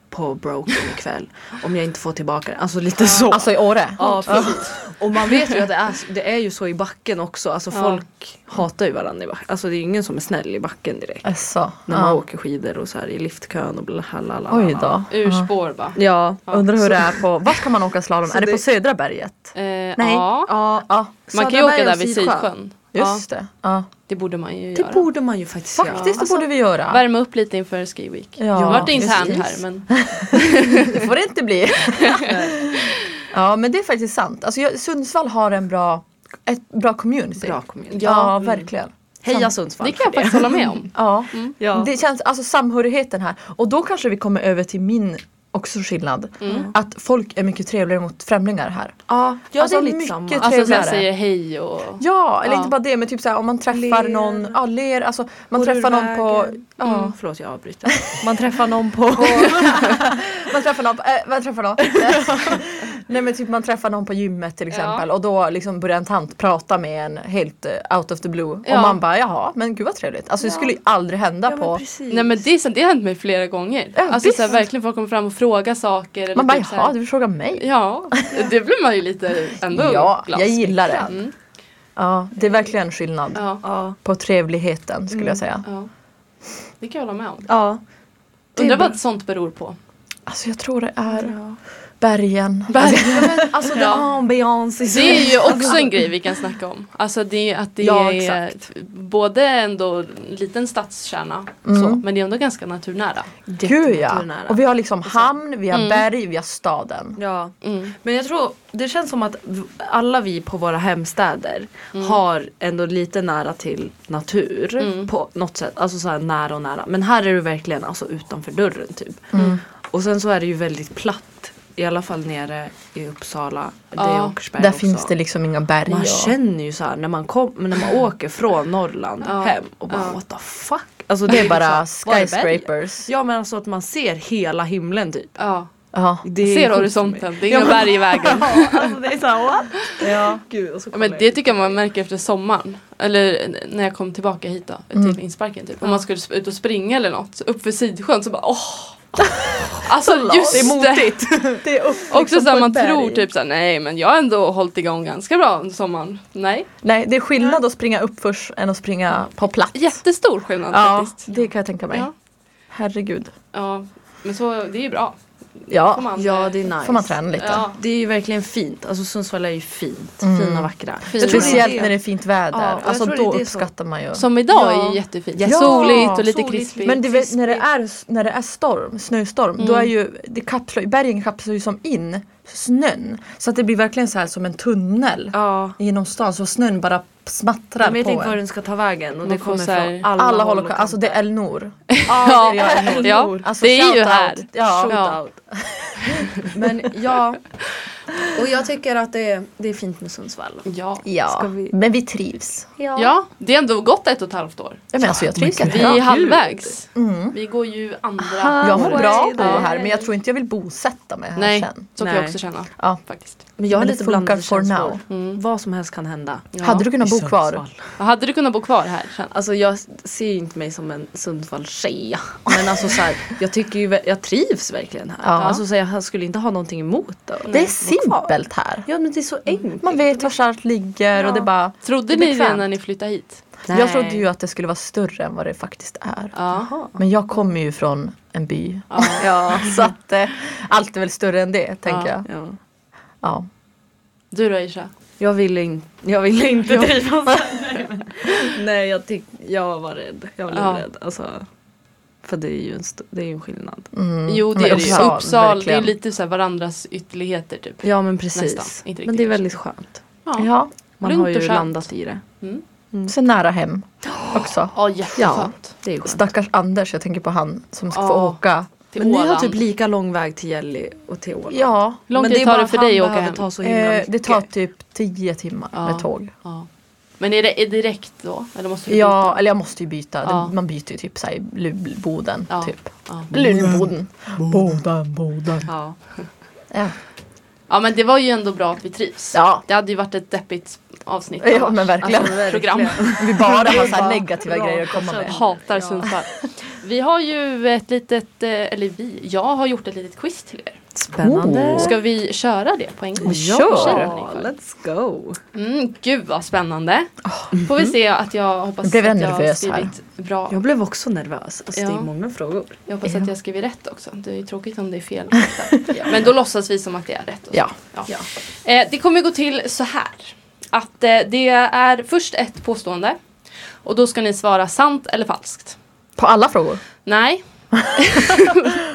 [SPEAKER 4] på Broken ikväll. Om jag inte får tillbaka den. Alltså lite så.
[SPEAKER 3] Alltså i Åre?
[SPEAKER 4] Ja, precis. *laughs* Och man vet ju att det är, det är ju så i backen också. Alltså
[SPEAKER 2] Ja.
[SPEAKER 4] folk hatar ju varandra i backen. Alltså det är ju ingen som är snäll i backen direkt.
[SPEAKER 3] Alltså,
[SPEAKER 4] När man
[SPEAKER 3] ja.
[SPEAKER 4] åker skidor och så här i liftkön och blalalala.
[SPEAKER 3] Oj då.
[SPEAKER 2] Ur spår bara.
[SPEAKER 4] Ja.
[SPEAKER 3] Undrar hur det är på, vart kan man åka slalom?
[SPEAKER 4] Så
[SPEAKER 3] Är det på
[SPEAKER 4] det-
[SPEAKER 3] södra berget?
[SPEAKER 2] Eh,
[SPEAKER 3] Nej.
[SPEAKER 2] Ja.
[SPEAKER 4] Ja.
[SPEAKER 3] Ja,
[SPEAKER 2] Man kan ju
[SPEAKER 4] Södra
[SPEAKER 2] åka
[SPEAKER 4] berg
[SPEAKER 2] där
[SPEAKER 4] och
[SPEAKER 2] vid
[SPEAKER 4] Sidsjön.
[SPEAKER 2] Sidsjön. Ja,
[SPEAKER 3] just det. Ja.
[SPEAKER 2] det borde man ju
[SPEAKER 4] Det
[SPEAKER 2] göra.
[SPEAKER 4] borde man ju faktiskt göra.
[SPEAKER 3] Faktiskt, det
[SPEAKER 2] Alltså,
[SPEAKER 3] borde vi göra.
[SPEAKER 2] Värma upp lite inför Ski Week.
[SPEAKER 3] Ja,
[SPEAKER 2] Ja, det vart internt
[SPEAKER 3] precis.
[SPEAKER 2] här men
[SPEAKER 3] Det får det inte
[SPEAKER 4] *laughs*
[SPEAKER 3] bli. ja, men det är faktiskt sant. Alltså, jag, Sundsvall har en bra, ett bra community.
[SPEAKER 4] Bra kommun.
[SPEAKER 3] Ja, mm.
[SPEAKER 2] Ja,
[SPEAKER 3] verkligen.
[SPEAKER 4] Heja Sundsvall
[SPEAKER 2] det kan jag faktiskt hålla med
[SPEAKER 3] *laughs*
[SPEAKER 2] om.
[SPEAKER 3] Ja.
[SPEAKER 4] Ja.
[SPEAKER 3] Det känns, alltså samhörigheten här. Och då kanske vi kommer över till min också skillnad.
[SPEAKER 4] Mm.
[SPEAKER 3] Att folk är mycket trevligare mot främlingar här.
[SPEAKER 4] Ja, ja
[SPEAKER 3] Alltså,
[SPEAKER 4] det är lite
[SPEAKER 3] mycket
[SPEAKER 4] samma.
[SPEAKER 3] trevligare.
[SPEAKER 2] Alltså så här säger hej och...
[SPEAKER 3] Ja, eller
[SPEAKER 2] Ja.
[SPEAKER 3] inte bara det men typ såhär om man träffar
[SPEAKER 4] Ler.
[SPEAKER 3] någon, ja ler, alltså man
[SPEAKER 4] Går
[SPEAKER 3] träffar
[SPEAKER 4] ur
[SPEAKER 3] någon på,
[SPEAKER 4] vägen.
[SPEAKER 3] ja,
[SPEAKER 4] Mm, förlåt jag avbryter.
[SPEAKER 3] man träffar någon på *laughs* Man träffar någon, på, eh,
[SPEAKER 2] *laughs*
[SPEAKER 3] man träffar någon Nej men typ man träffar någon på gymmet till exempel och då liksom börjar en tant prata med en helt eh, out of the blue och
[SPEAKER 2] Ja.
[SPEAKER 3] man bara jaha men gud vad trevligt. Alltså det skulle ju aldrig hända på
[SPEAKER 4] precis.
[SPEAKER 2] Nej men det, är sant, det har hänt mig flera gånger.
[SPEAKER 3] Ja,
[SPEAKER 2] alltså så här,
[SPEAKER 3] visst.
[SPEAKER 2] verkligen folk kommer fram och frågar saker. Eller
[SPEAKER 3] Man bara
[SPEAKER 2] typ så här-
[SPEAKER 3] jaha du frågar mig?
[SPEAKER 2] Ja, det blir man ju
[SPEAKER 3] *laughs*
[SPEAKER 2] lite ändå
[SPEAKER 3] Ja,
[SPEAKER 2] glad.
[SPEAKER 3] jag gillar det.
[SPEAKER 2] Mm.
[SPEAKER 3] Ja det är verkligen skillnad
[SPEAKER 2] Ja, Mm.
[SPEAKER 4] Ja.
[SPEAKER 3] på trevligheten skulle jag säga.
[SPEAKER 2] ja. Det kan jag hålla med om.
[SPEAKER 4] ja. Det är
[SPEAKER 2] Undrar
[SPEAKER 4] bra.
[SPEAKER 2] vad sånt beror
[SPEAKER 4] *laughs*
[SPEAKER 2] på.
[SPEAKER 3] Alltså jag tror det är bergen.
[SPEAKER 4] Alltså det
[SPEAKER 2] Ja.
[SPEAKER 4] är ambiance i
[SPEAKER 2] Det är
[SPEAKER 4] Sverige.
[SPEAKER 2] ju också en grej vi kan snacka om. Alltså det är att det
[SPEAKER 4] Ja,
[SPEAKER 2] är både ändå en liten stadskärna så,
[SPEAKER 4] Mm.
[SPEAKER 2] men det är ändå ganska naturnära.
[SPEAKER 3] Alltså, Gud ja!
[SPEAKER 4] Jättenaturnära.
[SPEAKER 3] Och vi har liksom hamn, vi har berg, vi har staden.
[SPEAKER 4] Ja.
[SPEAKER 2] Mm.
[SPEAKER 4] Men jag tror, det känns som att v- alla vi på våra hemstäder
[SPEAKER 2] Mm.
[SPEAKER 4] har ändå lite nära till natur
[SPEAKER 2] Mm.
[SPEAKER 4] på något sätt. Alltså så här nära och nära. Men här är du verkligen alltså utanför dörren typ.
[SPEAKER 3] Mm.
[SPEAKER 2] Mm.
[SPEAKER 4] Och sen så är det ju väldigt platt. I alla fall nere i Uppsala. Det är
[SPEAKER 2] Ja.
[SPEAKER 4] Åkersberga
[SPEAKER 3] Där
[SPEAKER 4] också.
[SPEAKER 3] finns det liksom inga berg.
[SPEAKER 4] Man
[SPEAKER 3] och-
[SPEAKER 4] känner ju så här när man, kom, men när
[SPEAKER 2] *clears throat*
[SPEAKER 4] man åker från Norrland
[SPEAKER 2] Ja.
[SPEAKER 4] hem och bara
[SPEAKER 2] Ja.
[SPEAKER 4] what the fuck.
[SPEAKER 2] *laughs*
[SPEAKER 4] Alltså,
[SPEAKER 3] Det är
[SPEAKER 4] ju
[SPEAKER 3] bara
[SPEAKER 4] liksom, var är bergen?
[SPEAKER 3] skyscrapers.
[SPEAKER 4] Ja men alltså att man ser hela himlen typ.
[SPEAKER 2] Ja.
[SPEAKER 3] Ja.
[SPEAKER 4] Det är
[SPEAKER 2] Ser
[SPEAKER 4] sjukt
[SPEAKER 2] horisonten, det
[SPEAKER 4] för mig.
[SPEAKER 2] är inga
[SPEAKER 4] Ja,
[SPEAKER 2] berg i vägen.
[SPEAKER 4] Ja, alltså det är såhär what? *laughs* Ja. Gud, och så
[SPEAKER 2] Ja, men
[SPEAKER 4] kommer
[SPEAKER 2] det tycker jag man märker efter sommaren. Eller n- när jag kom tillbaka hit då,
[SPEAKER 4] Mm.
[SPEAKER 2] till insparken typ. Om man skulle sp- ut och springa eller något, så upp för Sidsjön så bara
[SPEAKER 4] *laughs*
[SPEAKER 2] åh! Alltså just
[SPEAKER 3] Det är
[SPEAKER 2] motigt!
[SPEAKER 3] Det är upp
[SPEAKER 2] Också såhär man tror typ såhär nej men jag har ändå hållit igång ganska bra under sommaren. Nej,
[SPEAKER 3] Nej, det är skillnad att springa upp först än att springa på plats.
[SPEAKER 2] jättestor skillnad
[SPEAKER 3] Ja,
[SPEAKER 2] faktiskt.
[SPEAKER 3] det kan jag tänka mig.
[SPEAKER 2] Ja.
[SPEAKER 3] Herregud.
[SPEAKER 2] Ja, men så det är ju bra. Får
[SPEAKER 3] Ja,
[SPEAKER 2] man,
[SPEAKER 4] Ja
[SPEAKER 2] eh,
[SPEAKER 4] det är nice.
[SPEAKER 3] får man träna lite. Mm.
[SPEAKER 2] Ja.
[SPEAKER 4] Det är ju verkligen fint. Alltså Sundsvall är ju fint. Fina vackra.
[SPEAKER 2] Jag tror det är
[SPEAKER 3] Speciellt när det är fint väder.
[SPEAKER 4] Ja, och jag
[SPEAKER 3] alltså
[SPEAKER 4] tror det är
[SPEAKER 3] då
[SPEAKER 4] det som-
[SPEAKER 3] uppskattar man ju.
[SPEAKER 2] Som idag är
[SPEAKER 4] Ja.
[SPEAKER 2] ju jättefint.
[SPEAKER 3] Ja.
[SPEAKER 2] Soligt och lite
[SPEAKER 4] Soligt,
[SPEAKER 2] krispigt.
[SPEAKER 3] Men du vet, när, det är, när det är storm, snöstorm, då är ju det kapslar, bergen kapslar ju som in snön. Så att det blir verkligen så här som en tunnel
[SPEAKER 4] Ja.
[SPEAKER 3] genom stan så snön bara smattrar
[SPEAKER 4] Men jag vet
[SPEAKER 3] på
[SPEAKER 4] inte var
[SPEAKER 3] en.
[SPEAKER 4] den ska ta vägen och
[SPEAKER 2] Man
[SPEAKER 4] det
[SPEAKER 2] får
[SPEAKER 4] kommer
[SPEAKER 2] så här-
[SPEAKER 4] från alla,
[SPEAKER 3] Alla
[SPEAKER 4] håll
[SPEAKER 3] håller
[SPEAKER 4] och
[SPEAKER 3] på,
[SPEAKER 4] kanter.
[SPEAKER 3] alltså det är Elnor.
[SPEAKER 2] ja,
[SPEAKER 3] det är
[SPEAKER 2] ja,
[SPEAKER 3] ju-
[SPEAKER 2] ja,
[SPEAKER 3] Alltså,
[SPEAKER 2] det är ju
[SPEAKER 3] shout-out.
[SPEAKER 2] här.
[SPEAKER 3] Ja.
[SPEAKER 2] Ja.
[SPEAKER 4] Shootout. Men
[SPEAKER 3] *laughs*
[SPEAKER 4] ja. Och jag tycker att det är, det är fint med Sundsvall.
[SPEAKER 2] Ja.
[SPEAKER 3] Ja,
[SPEAKER 4] Ska vi-
[SPEAKER 3] men vi trivs.
[SPEAKER 2] ja, det är ändå gått ett och ett halvt år.
[SPEAKER 3] Ja, Mm. men alltså, jag trivs
[SPEAKER 2] Vi
[SPEAKER 3] jättebra.
[SPEAKER 2] är halvvägs. Vi går ju andra...
[SPEAKER 3] Jag har bra
[SPEAKER 4] Ja.
[SPEAKER 3] bo här men jag tror inte jag vill bosätta mig här
[SPEAKER 2] Nej,
[SPEAKER 3] sen.
[SPEAKER 2] så kan jag
[SPEAKER 4] Nej.
[SPEAKER 2] också känna.
[SPEAKER 3] Ja.
[SPEAKER 2] Faktiskt.
[SPEAKER 4] Men jag har
[SPEAKER 3] Men det
[SPEAKER 4] lite
[SPEAKER 3] funkar
[SPEAKER 4] blandade
[SPEAKER 3] for
[SPEAKER 4] känslor.
[SPEAKER 3] now. Mm.
[SPEAKER 4] Vad som helst kan hända.
[SPEAKER 2] Ja.
[SPEAKER 3] Hade du kunnat
[SPEAKER 4] I
[SPEAKER 3] bo kvar?
[SPEAKER 4] Sundsvall.
[SPEAKER 2] Hade du kunnat bo kvar här sen?
[SPEAKER 4] Alltså jag ser ju inte mig som en Sundsvallstjej. Men alltså så här, jag tycker ju, jag trivs verkligen här.
[SPEAKER 3] Ja.
[SPEAKER 4] Alltså så här, jag skulle inte ha någonting emot det.
[SPEAKER 3] Det är
[SPEAKER 4] kvar.
[SPEAKER 3] simpelt här.
[SPEAKER 4] Ja men det är så enkelt.
[SPEAKER 3] Man vet var allt ligger och det är bara
[SPEAKER 2] Trodde
[SPEAKER 3] Det är
[SPEAKER 2] ni det
[SPEAKER 3] bekvämt.
[SPEAKER 2] när ni flyttade hit?
[SPEAKER 3] Jag trodde ju att det skulle vara större än vad det faktiskt är.
[SPEAKER 2] Ja.
[SPEAKER 3] Men jag kommer ju från en by.
[SPEAKER 2] Ja.
[SPEAKER 3] Ja, *laughs* så att eh, allt är väl större än det tänker
[SPEAKER 2] Ja.
[SPEAKER 3] jag.
[SPEAKER 4] Ja.
[SPEAKER 3] Ja.
[SPEAKER 2] Du då Isha?
[SPEAKER 4] Jag ville, in, jag ville inte trivas Nej, men- *laughs* Nej jag, tyck, jag var rädd. Jag blev
[SPEAKER 2] Ja.
[SPEAKER 4] rädd. Alltså, för det är ju en, st- det är ju en skillnad.
[SPEAKER 3] Mm.
[SPEAKER 2] Jo det
[SPEAKER 3] Men
[SPEAKER 2] är det ju. Uppsal, det är
[SPEAKER 3] verkligen.
[SPEAKER 2] lite så här varandras ytterligheter typ.
[SPEAKER 4] Ja men precis.
[SPEAKER 2] Nästan, inte
[SPEAKER 4] men det
[SPEAKER 2] riktigt
[SPEAKER 4] är väldigt skönt.
[SPEAKER 3] Ja,
[SPEAKER 4] Man
[SPEAKER 2] Lugnt
[SPEAKER 4] har ju
[SPEAKER 2] och skönt.
[SPEAKER 4] landat i det.
[SPEAKER 3] så nära hem också.
[SPEAKER 2] Ja jätteskönt.
[SPEAKER 4] Det är ju skönt.
[SPEAKER 3] Stackars Anders, jag tänker på han som ska få
[SPEAKER 2] Ja.
[SPEAKER 3] åka.
[SPEAKER 2] Till
[SPEAKER 4] Men ni har
[SPEAKER 2] Åland.
[SPEAKER 4] typ lika lång väg till Gällivare och till Åland.
[SPEAKER 3] Ja,
[SPEAKER 2] Hur lång
[SPEAKER 4] men
[SPEAKER 2] tid
[SPEAKER 4] är
[SPEAKER 2] tar
[SPEAKER 4] bara
[SPEAKER 2] det för
[SPEAKER 4] han
[SPEAKER 2] dig att åka
[SPEAKER 4] behöver
[SPEAKER 2] hem?
[SPEAKER 4] Ta så himla
[SPEAKER 3] eh, det
[SPEAKER 4] mycket.
[SPEAKER 3] tar typ 10 timmar
[SPEAKER 2] Ja.
[SPEAKER 3] med tåg.
[SPEAKER 2] Ja. Men är det är direkt då? Eller måste du
[SPEAKER 3] Ja,
[SPEAKER 2] byta?
[SPEAKER 3] eller jag måste ju byta. Det-
[SPEAKER 2] Ja.
[SPEAKER 3] Man byter ju typ såhär i Lul- Boden.
[SPEAKER 2] Ja.
[SPEAKER 3] Typ.
[SPEAKER 2] Ja.
[SPEAKER 3] Lulboden.
[SPEAKER 4] Ja.
[SPEAKER 3] Ja.
[SPEAKER 2] Ja men det var ju ändå bra att vi trivs.
[SPEAKER 3] Ja.
[SPEAKER 2] Det hade ju varit ett deppigt avsnitt.
[SPEAKER 3] ja,
[SPEAKER 2] annars.
[SPEAKER 3] men verkligen.
[SPEAKER 4] Alltså, verkligen.
[SPEAKER 2] Program.
[SPEAKER 3] vi bara har så
[SPEAKER 4] Bra.
[SPEAKER 3] här negativa
[SPEAKER 4] Bra.
[SPEAKER 3] grejer att komma med.
[SPEAKER 4] Alltså,
[SPEAKER 2] Hatar
[SPEAKER 4] Ja.
[SPEAKER 2] Sundsvall. Vi har ju ett litet, eh, eller vi, jag har gjort ett litet quiz till er.
[SPEAKER 4] Spännande.
[SPEAKER 3] Oh.
[SPEAKER 2] Ska vi köra det på en gång?
[SPEAKER 3] Ja,
[SPEAKER 4] Ja, let's go.
[SPEAKER 2] Mm, gud vad spännande. Får vi se att jag hoppas
[SPEAKER 3] Nu blev Ah. jag
[SPEAKER 2] att jag har
[SPEAKER 3] nervös här.
[SPEAKER 2] skrivit bra.
[SPEAKER 4] Jag blev också nervös. Alltså, Det
[SPEAKER 2] Ja.
[SPEAKER 4] är många frågor.
[SPEAKER 2] Jag hoppas
[SPEAKER 3] Ja.
[SPEAKER 2] att jag skriver rätt också. Det är ju tråkigt om det är
[SPEAKER 3] *laughs*
[SPEAKER 2] fel. Men då låtsas vi som att det är rätt. och så.
[SPEAKER 3] Ja.
[SPEAKER 2] Ja. Eh, det kommer gå till så här. Att eh, det är först ett påstående. Och då ska ni svara sant eller falskt.
[SPEAKER 3] På alla frågor? *laughs*
[SPEAKER 2] Nej,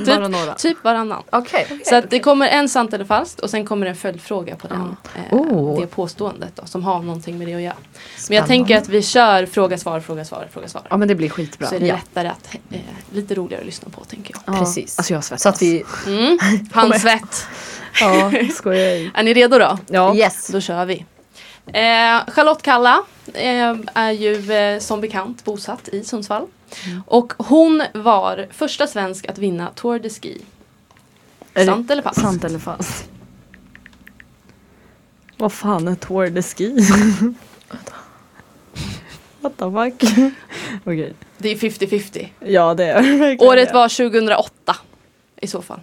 [SPEAKER 4] Bara några.
[SPEAKER 2] typ varannan.
[SPEAKER 3] Okej.
[SPEAKER 2] Så att det kommer en sant eller falskt och sen kommer en följdfråga på den, eh,
[SPEAKER 3] Oh.
[SPEAKER 2] det påståendet då, som har någonting med det att göra. Men jag
[SPEAKER 3] Spännande.
[SPEAKER 2] tänker att vi kör fråga, svar, fråga, svar, fråga, svar.
[SPEAKER 4] Ja men det blir skitbra.
[SPEAKER 2] Så är det
[SPEAKER 3] Ja.
[SPEAKER 2] lättare att, eh, lite roligare att lyssna på tänker jag.
[SPEAKER 4] Ja.
[SPEAKER 3] Precis.
[SPEAKER 4] Alltså jag svettas.
[SPEAKER 3] Så att vi...
[SPEAKER 4] *laughs*
[SPEAKER 2] Mm. Handsvett.
[SPEAKER 4] Ja, skojar ej.
[SPEAKER 2] Är ni redo då?
[SPEAKER 4] Ja.
[SPEAKER 3] Yes.
[SPEAKER 2] Då kör vi. Eh, Charlotte Kalla eh, är ju eh, som bekant bosatt i Sundsvall.
[SPEAKER 4] Mm.
[SPEAKER 2] Och hon var första svensk att vinna Tour de Ski.
[SPEAKER 4] Är det
[SPEAKER 2] sant eller falskt?
[SPEAKER 4] Sant eller falskt? Vad fan är Tour de Ski?
[SPEAKER 3] *laughs*
[SPEAKER 4] What the fuck? Okej.
[SPEAKER 2] Det är 50-50.
[SPEAKER 4] Ja det är det verkligen
[SPEAKER 2] Året
[SPEAKER 4] det.
[SPEAKER 2] var 2008. I så fall.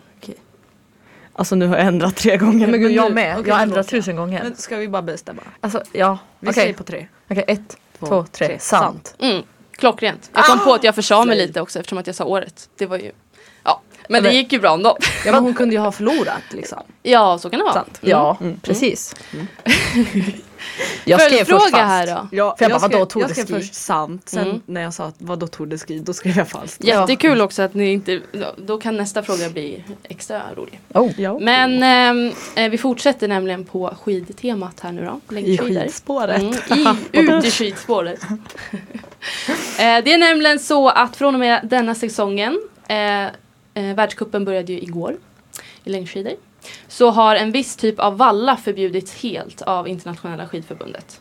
[SPEAKER 4] Alltså nu har jag ändrat tre gånger.
[SPEAKER 3] Men gud, jag
[SPEAKER 4] nu-
[SPEAKER 3] med.
[SPEAKER 4] Okej,
[SPEAKER 3] jag har
[SPEAKER 4] förlåt,
[SPEAKER 3] ändrat
[SPEAKER 4] ja.
[SPEAKER 3] tusen gånger.
[SPEAKER 4] Men ska vi bara bestämma?
[SPEAKER 3] alltså, ja.
[SPEAKER 4] Vi
[SPEAKER 3] Okej,
[SPEAKER 4] säger på tre.
[SPEAKER 3] Okej, ett, två, tre. Sant.
[SPEAKER 2] Mm, klockrent. Jag
[SPEAKER 4] Ah!
[SPEAKER 2] kom på att jag försade mig lite också eftersom att jag sa året. Det var ju... Ja, men det
[SPEAKER 3] Men-
[SPEAKER 2] gick ju bra
[SPEAKER 4] *laughs*
[SPEAKER 2] ändå.
[SPEAKER 4] Ja men hon kunde ju ha förlorat liksom.
[SPEAKER 2] Ja, så kan det vara.
[SPEAKER 4] Sant.
[SPEAKER 2] Mm.
[SPEAKER 3] Ja, precis. jag skrev
[SPEAKER 2] Följdfråga
[SPEAKER 3] först
[SPEAKER 2] här
[SPEAKER 3] falskt.
[SPEAKER 2] då.
[SPEAKER 4] Ja,
[SPEAKER 3] För jag bara,
[SPEAKER 4] skrev-
[SPEAKER 3] vadå Tour
[SPEAKER 4] jag
[SPEAKER 3] de
[SPEAKER 4] skrev
[SPEAKER 3] Ski?
[SPEAKER 4] först sant, sen
[SPEAKER 2] Mm.
[SPEAKER 4] när jag sa att vadå Tour de Ski, då skrev jag falskt.
[SPEAKER 2] Jättekul också att ni inte... Då kan nästa fråga bli extra rolig.
[SPEAKER 3] Oh.
[SPEAKER 4] Ja.
[SPEAKER 2] Men ehm, eh, vi fortsätter nämligen på skidtemat här nu då.
[SPEAKER 4] I
[SPEAKER 2] Längdskidor.
[SPEAKER 4] skidspåret.
[SPEAKER 2] Mm, i,
[SPEAKER 3] *laughs*
[SPEAKER 2] ut i skidspåret. *laughs* eh, det är nämligen så att från och med denna säsongen, eh, eh, världscupen började ju igår i längdskidor, så har en viss typ av valla förbjudits helt av internationella skidförbundet.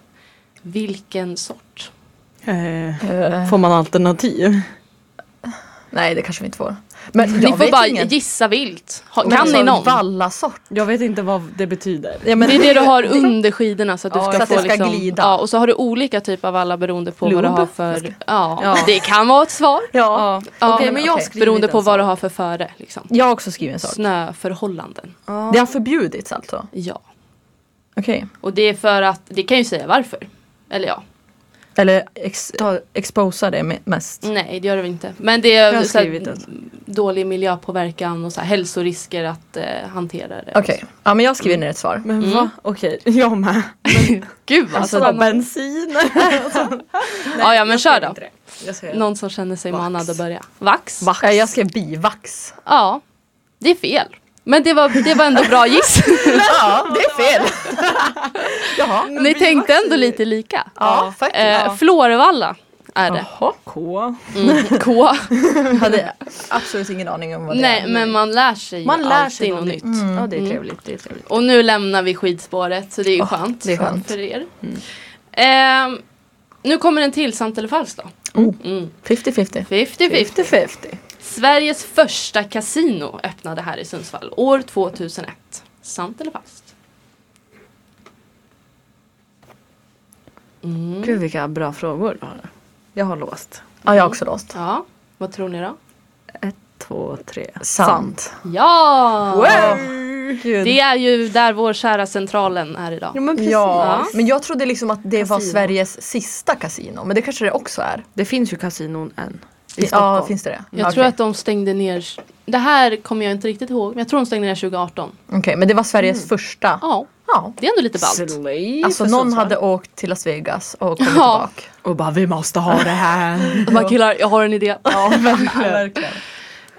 [SPEAKER 2] Vilken sort?
[SPEAKER 4] Eh,
[SPEAKER 3] Eh,
[SPEAKER 4] får man alternativ?
[SPEAKER 3] nej, det kanske vi inte får. Men jag
[SPEAKER 2] Ni får
[SPEAKER 3] vet
[SPEAKER 2] bara
[SPEAKER 3] ingen.
[SPEAKER 2] gissa vilt. Ha,
[SPEAKER 3] Men
[SPEAKER 2] kan
[SPEAKER 3] alltså,
[SPEAKER 2] ni någon?
[SPEAKER 3] Vallasort.
[SPEAKER 4] Jag vet inte vad det betyder.
[SPEAKER 3] Ja, men
[SPEAKER 2] Det är det du har under skidorna så att du
[SPEAKER 3] Ja,
[SPEAKER 2] ska
[SPEAKER 3] så att
[SPEAKER 2] få
[SPEAKER 3] det ska
[SPEAKER 2] liksom,
[SPEAKER 3] glida.
[SPEAKER 2] Ja, och så har du olika typer av valla beroende på vad du
[SPEAKER 3] Lob?
[SPEAKER 2] har för... Ja,
[SPEAKER 4] Ja.
[SPEAKER 2] det kan vara ett svar.
[SPEAKER 3] Ja.
[SPEAKER 2] Ja,
[SPEAKER 4] Okej, men jag
[SPEAKER 3] okej.
[SPEAKER 4] skriver
[SPEAKER 2] beroende
[SPEAKER 4] inte
[SPEAKER 2] på
[SPEAKER 4] ens
[SPEAKER 2] vad du
[SPEAKER 4] så.
[SPEAKER 2] har för före. Liksom.
[SPEAKER 3] Jag har också skrivit en sak.
[SPEAKER 2] Snöförhållanden.
[SPEAKER 3] Det har förbjudits alltså?
[SPEAKER 2] Ja.
[SPEAKER 3] Okej.
[SPEAKER 2] Och det är för att, det kan ju säga varför. Eller ja,
[SPEAKER 3] Eller ex- ta, exposa det me- mest?
[SPEAKER 2] nej det gör det väl inte. Men det
[SPEAKER 4] Jag
[SPEAKER 2] är
[SPEAKER 4] har
[SPEAKER 2] så
[SPEAKER 4] skrivit
[SPEAKER 2] här,
[SPEAKER 4] det.
[SPEAKER 2] dålig miljöpåverkan och så här, hälsorisker att eh, hantera det.
[SPEAKER 3] Okej, ja men jag skriver ner ett svar.
[SPEAKER 4] Men va? Okej, *laughs* jag med.
[SPEAKER 2] Gud Alltså, vad
[SPEAKER 4] Alltså
[SPEAKER 2] spännande.
[SPEAKER 4] bensin.
[SPEAKER 2] Ja, ja men kör då.
[SPEAKER 4] Jag ser.
[SPEAKER 2] Någon som känner sig
[SPEAKER 4] Vax.
[SPEAKER 2] manad att börja. Vax?
[SPEAKER 3] Vax. Ja, Eh, jag skrev bivax.
[SPEAKER 2] Ja, det är fel. Men det var, det var ändå bra giss.
[SPEAKER 3] Ja, det är fel! *laughs* Jaha.
[SPEAKER 2] Ni tänkte ändå lite lika.
[SPEAKER 3] Ja, faktiskt.
[SPEAKER 2] Eh,
[SPEAKER 3] *laughs*
[SPEAKER 2] Florvalla är det.
[SPEAKER 3] Jaha.
[SPEAKER 4] K.
[SPEAKER 2] Mm. K.
[SPEAKER 3] Jag hade absolut ingen aning om vad det
[SPEAKER 2] *laughs* Nej
[SPEAKER 3] är.
[SPEAKER 2] men man lär sig ju
[SPEAKER 4] Man lär
[SPEAKER 2] alltid
[SPEAKER 4] sig
[SPEAKER 2] något nytt.
[SPEAKER 4] Ja det är trevligt. Det är trevligt.
[SPEAKER 2] Och nu lämnar vi skidspåret så det är ju skönt,
[SPEAKER 3] det är skönt.
[SPEAKER 2] för er. Ehm, nu kommer en till, sant eller falskt då?
[SPEAKER 3] Oh.
[SPEAKER 2] Mm.
[SPEAKER 3] 50-50.
[SPEAKER 2] 50-50.
[SPEAKER 3] 50-50.
[SPEAKER 2] Sveriges första kasino öppnade här i Sundsvall år 2001. Sant eller falskt? Mm.
[SPEAKER 4] Gud vilka bra frågor du har. Jag har låst.
[SPEAKER 3] Ja, jag har också låst.
[SPEAKER 2] Ja, vad tror ni då?
[SPEAKER 4] Ett, två, tre.
[SPEAKER 3] Sant.
[SPEAKER 2] Ja!
[SPEAKER 4] Gud.
[SPEAKER 2] Det är ju där vår kära centralen är idag.
[SPEAKER 4] Ja men precis.
[SPEAKER 3] Ja,
[SPEAKER 2] Ja.
[SPEAKER 3] men jag trodde liksom att det var
[SPEAKER 4] Kasino.
[SPEAKER 3] Sveriges sista kasino, men det kanske det också är.
[SPEAKER 4] Det finns ju kasinon än. I
[SPEAKER 3] Ja,
[SPEAKER 4] Stockholm.
[SPEAKER 3] finns det det?
[SPEAKER 2] Jag
[SPEAKER 3] Okej.
[SPEAKER 2] tror att de stängde ner, det här kommer jag inte riktigt ihåg, men jag tror de stängde ner 2018.
[SPEAKER 3] Okej, men det var Sveriges första.
[SPEAKER 2] Ja,
[SPEAKER 3] Ja.
[SPEAKER 2] det är ändå lite ballt.
[SPEAKER 4] Slay
[SPEAKER 3] Alltså
[SPEAKER 4] för
[SPEAKER 3] någon
[SPEAKER 4] Sundsvall.
[SPEAKER 3] hade åkt till Las Vegas och kommit
[SPEAKER 2] Ja.
[SPEAKER 4] *laughs*
[SPEAKER 3] tillbaka.
[SPEAKER 4] Och bara vi måste ha det här.
[SPEAKER 2] *laughs* Bara killar, jag har en idé.
[SPEAKER 3] Ja, verkligen.
[SPEAKER 2] *laughs*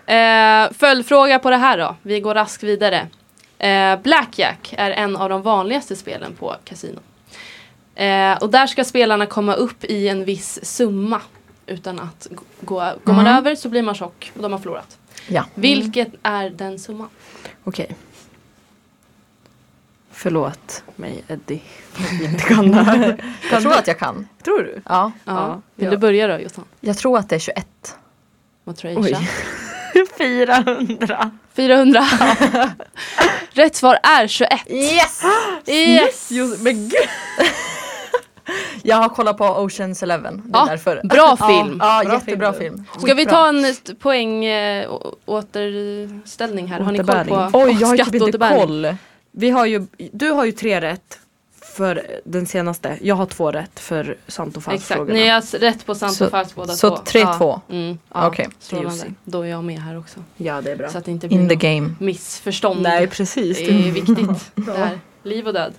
[SPEAKER 2] Eh, följdfråga på det här då, vi går raskt vidare. Eh, Blackjack är en av de vanligaste spelen på kasino. Eh, och där ska spelarna komma upp i en viss summa utan att g- gå, går man över så blir man tjock och de har förlorat.
[SPEAKER 3] Mm. Ja.
[SPEAKER 2] Vilket är den summan?
[SPEAKER 4] Okej. Förlåt mig Eddie. Jag inte kan det här.
[SPEAKER 3] Jag tror att jag kan.
[SPEAKER 4] Tror du?
[SPEAKER 3] Ja.
[SPEAKER 2] Ja.
[SPEAKER 4] Ja,
[SPEAKER 2] Vill
[SPEAKER 4] ja.
[SPEAKER 2] du börja då Jossan?
[SPEAKER 3] Jag tror att det är 21.
[SPEAKER 2] Vad tror jag Aisha?
[SPEAKER 4] 400.
[SPEAKER 3] *laughs*
[SPEAKER 2] 400. Rätt svar är 21.
[SPEAKER 3] Yes!
[SPEAKER 2] Yes!
[SPEAKER 3] Just, men gud. *laughs* Jag har kollat på Oceans Eleven. Det är
[SPEAKER 2] Ja,
[SPEAKER 3] därför.
[SPEAKER 2] bra film.
[SPEAKER 3] *laughs* Ja,
[SPEAKER 4] Bra
[SPEAKER 3] jättebra
[SPEAKER 4] film.
[SPEAKER 3] film.
[SPEAKER 2] Ska vi
[SPEAKER 3] Skitbra.
[SPEAKER 2] ta en st- poäng eh, å- återställning här? Har ni koll
[SPEAKER 4] Återbäring.
[SPEAKER 2] på
[SPEAKER 3] Oj, jag har typ inte
[SPEAKER 2] skatteåterbäring?
[SPEAKER 3] koll.
[SPEAKER 4] Vi har ju, du har ju tre rätt för den senaste. Jag har två rätt för sant och falskt
[SPEAKER 2] Exakt,
[SPEAKER 4] frågorna.
[SPEAKER 2] ni har s- rätt på sant
[SPEAKER 3] Så-
[SPEAKER 2] och falskt båda
[SPEAKER 3] Så
[SPEAKER 2] två.
[SPEAKER 3] 3-2.
[SPEAKER 2] Mm,
[SPEAKER 4] Ja,
[SPEAKER 3] Okej.
[SPEAKER 2] strålande.
[SPEAKER 4] Jussi.
[SPEAKER 2] Då är jag med här också.
[SPEAKER 4] Ja det är bra.
[SPEAKER 2] Så att det inte blir
[SPEAKER 3] In the
[SPEAKER 2] något
[SPEAKER 3] game.
[SPEAKER 2] missförstånd.
[SPEAKER 4] Nej precis.
[SPEAKER 2] Det är viktigt. Det här. Liv och död.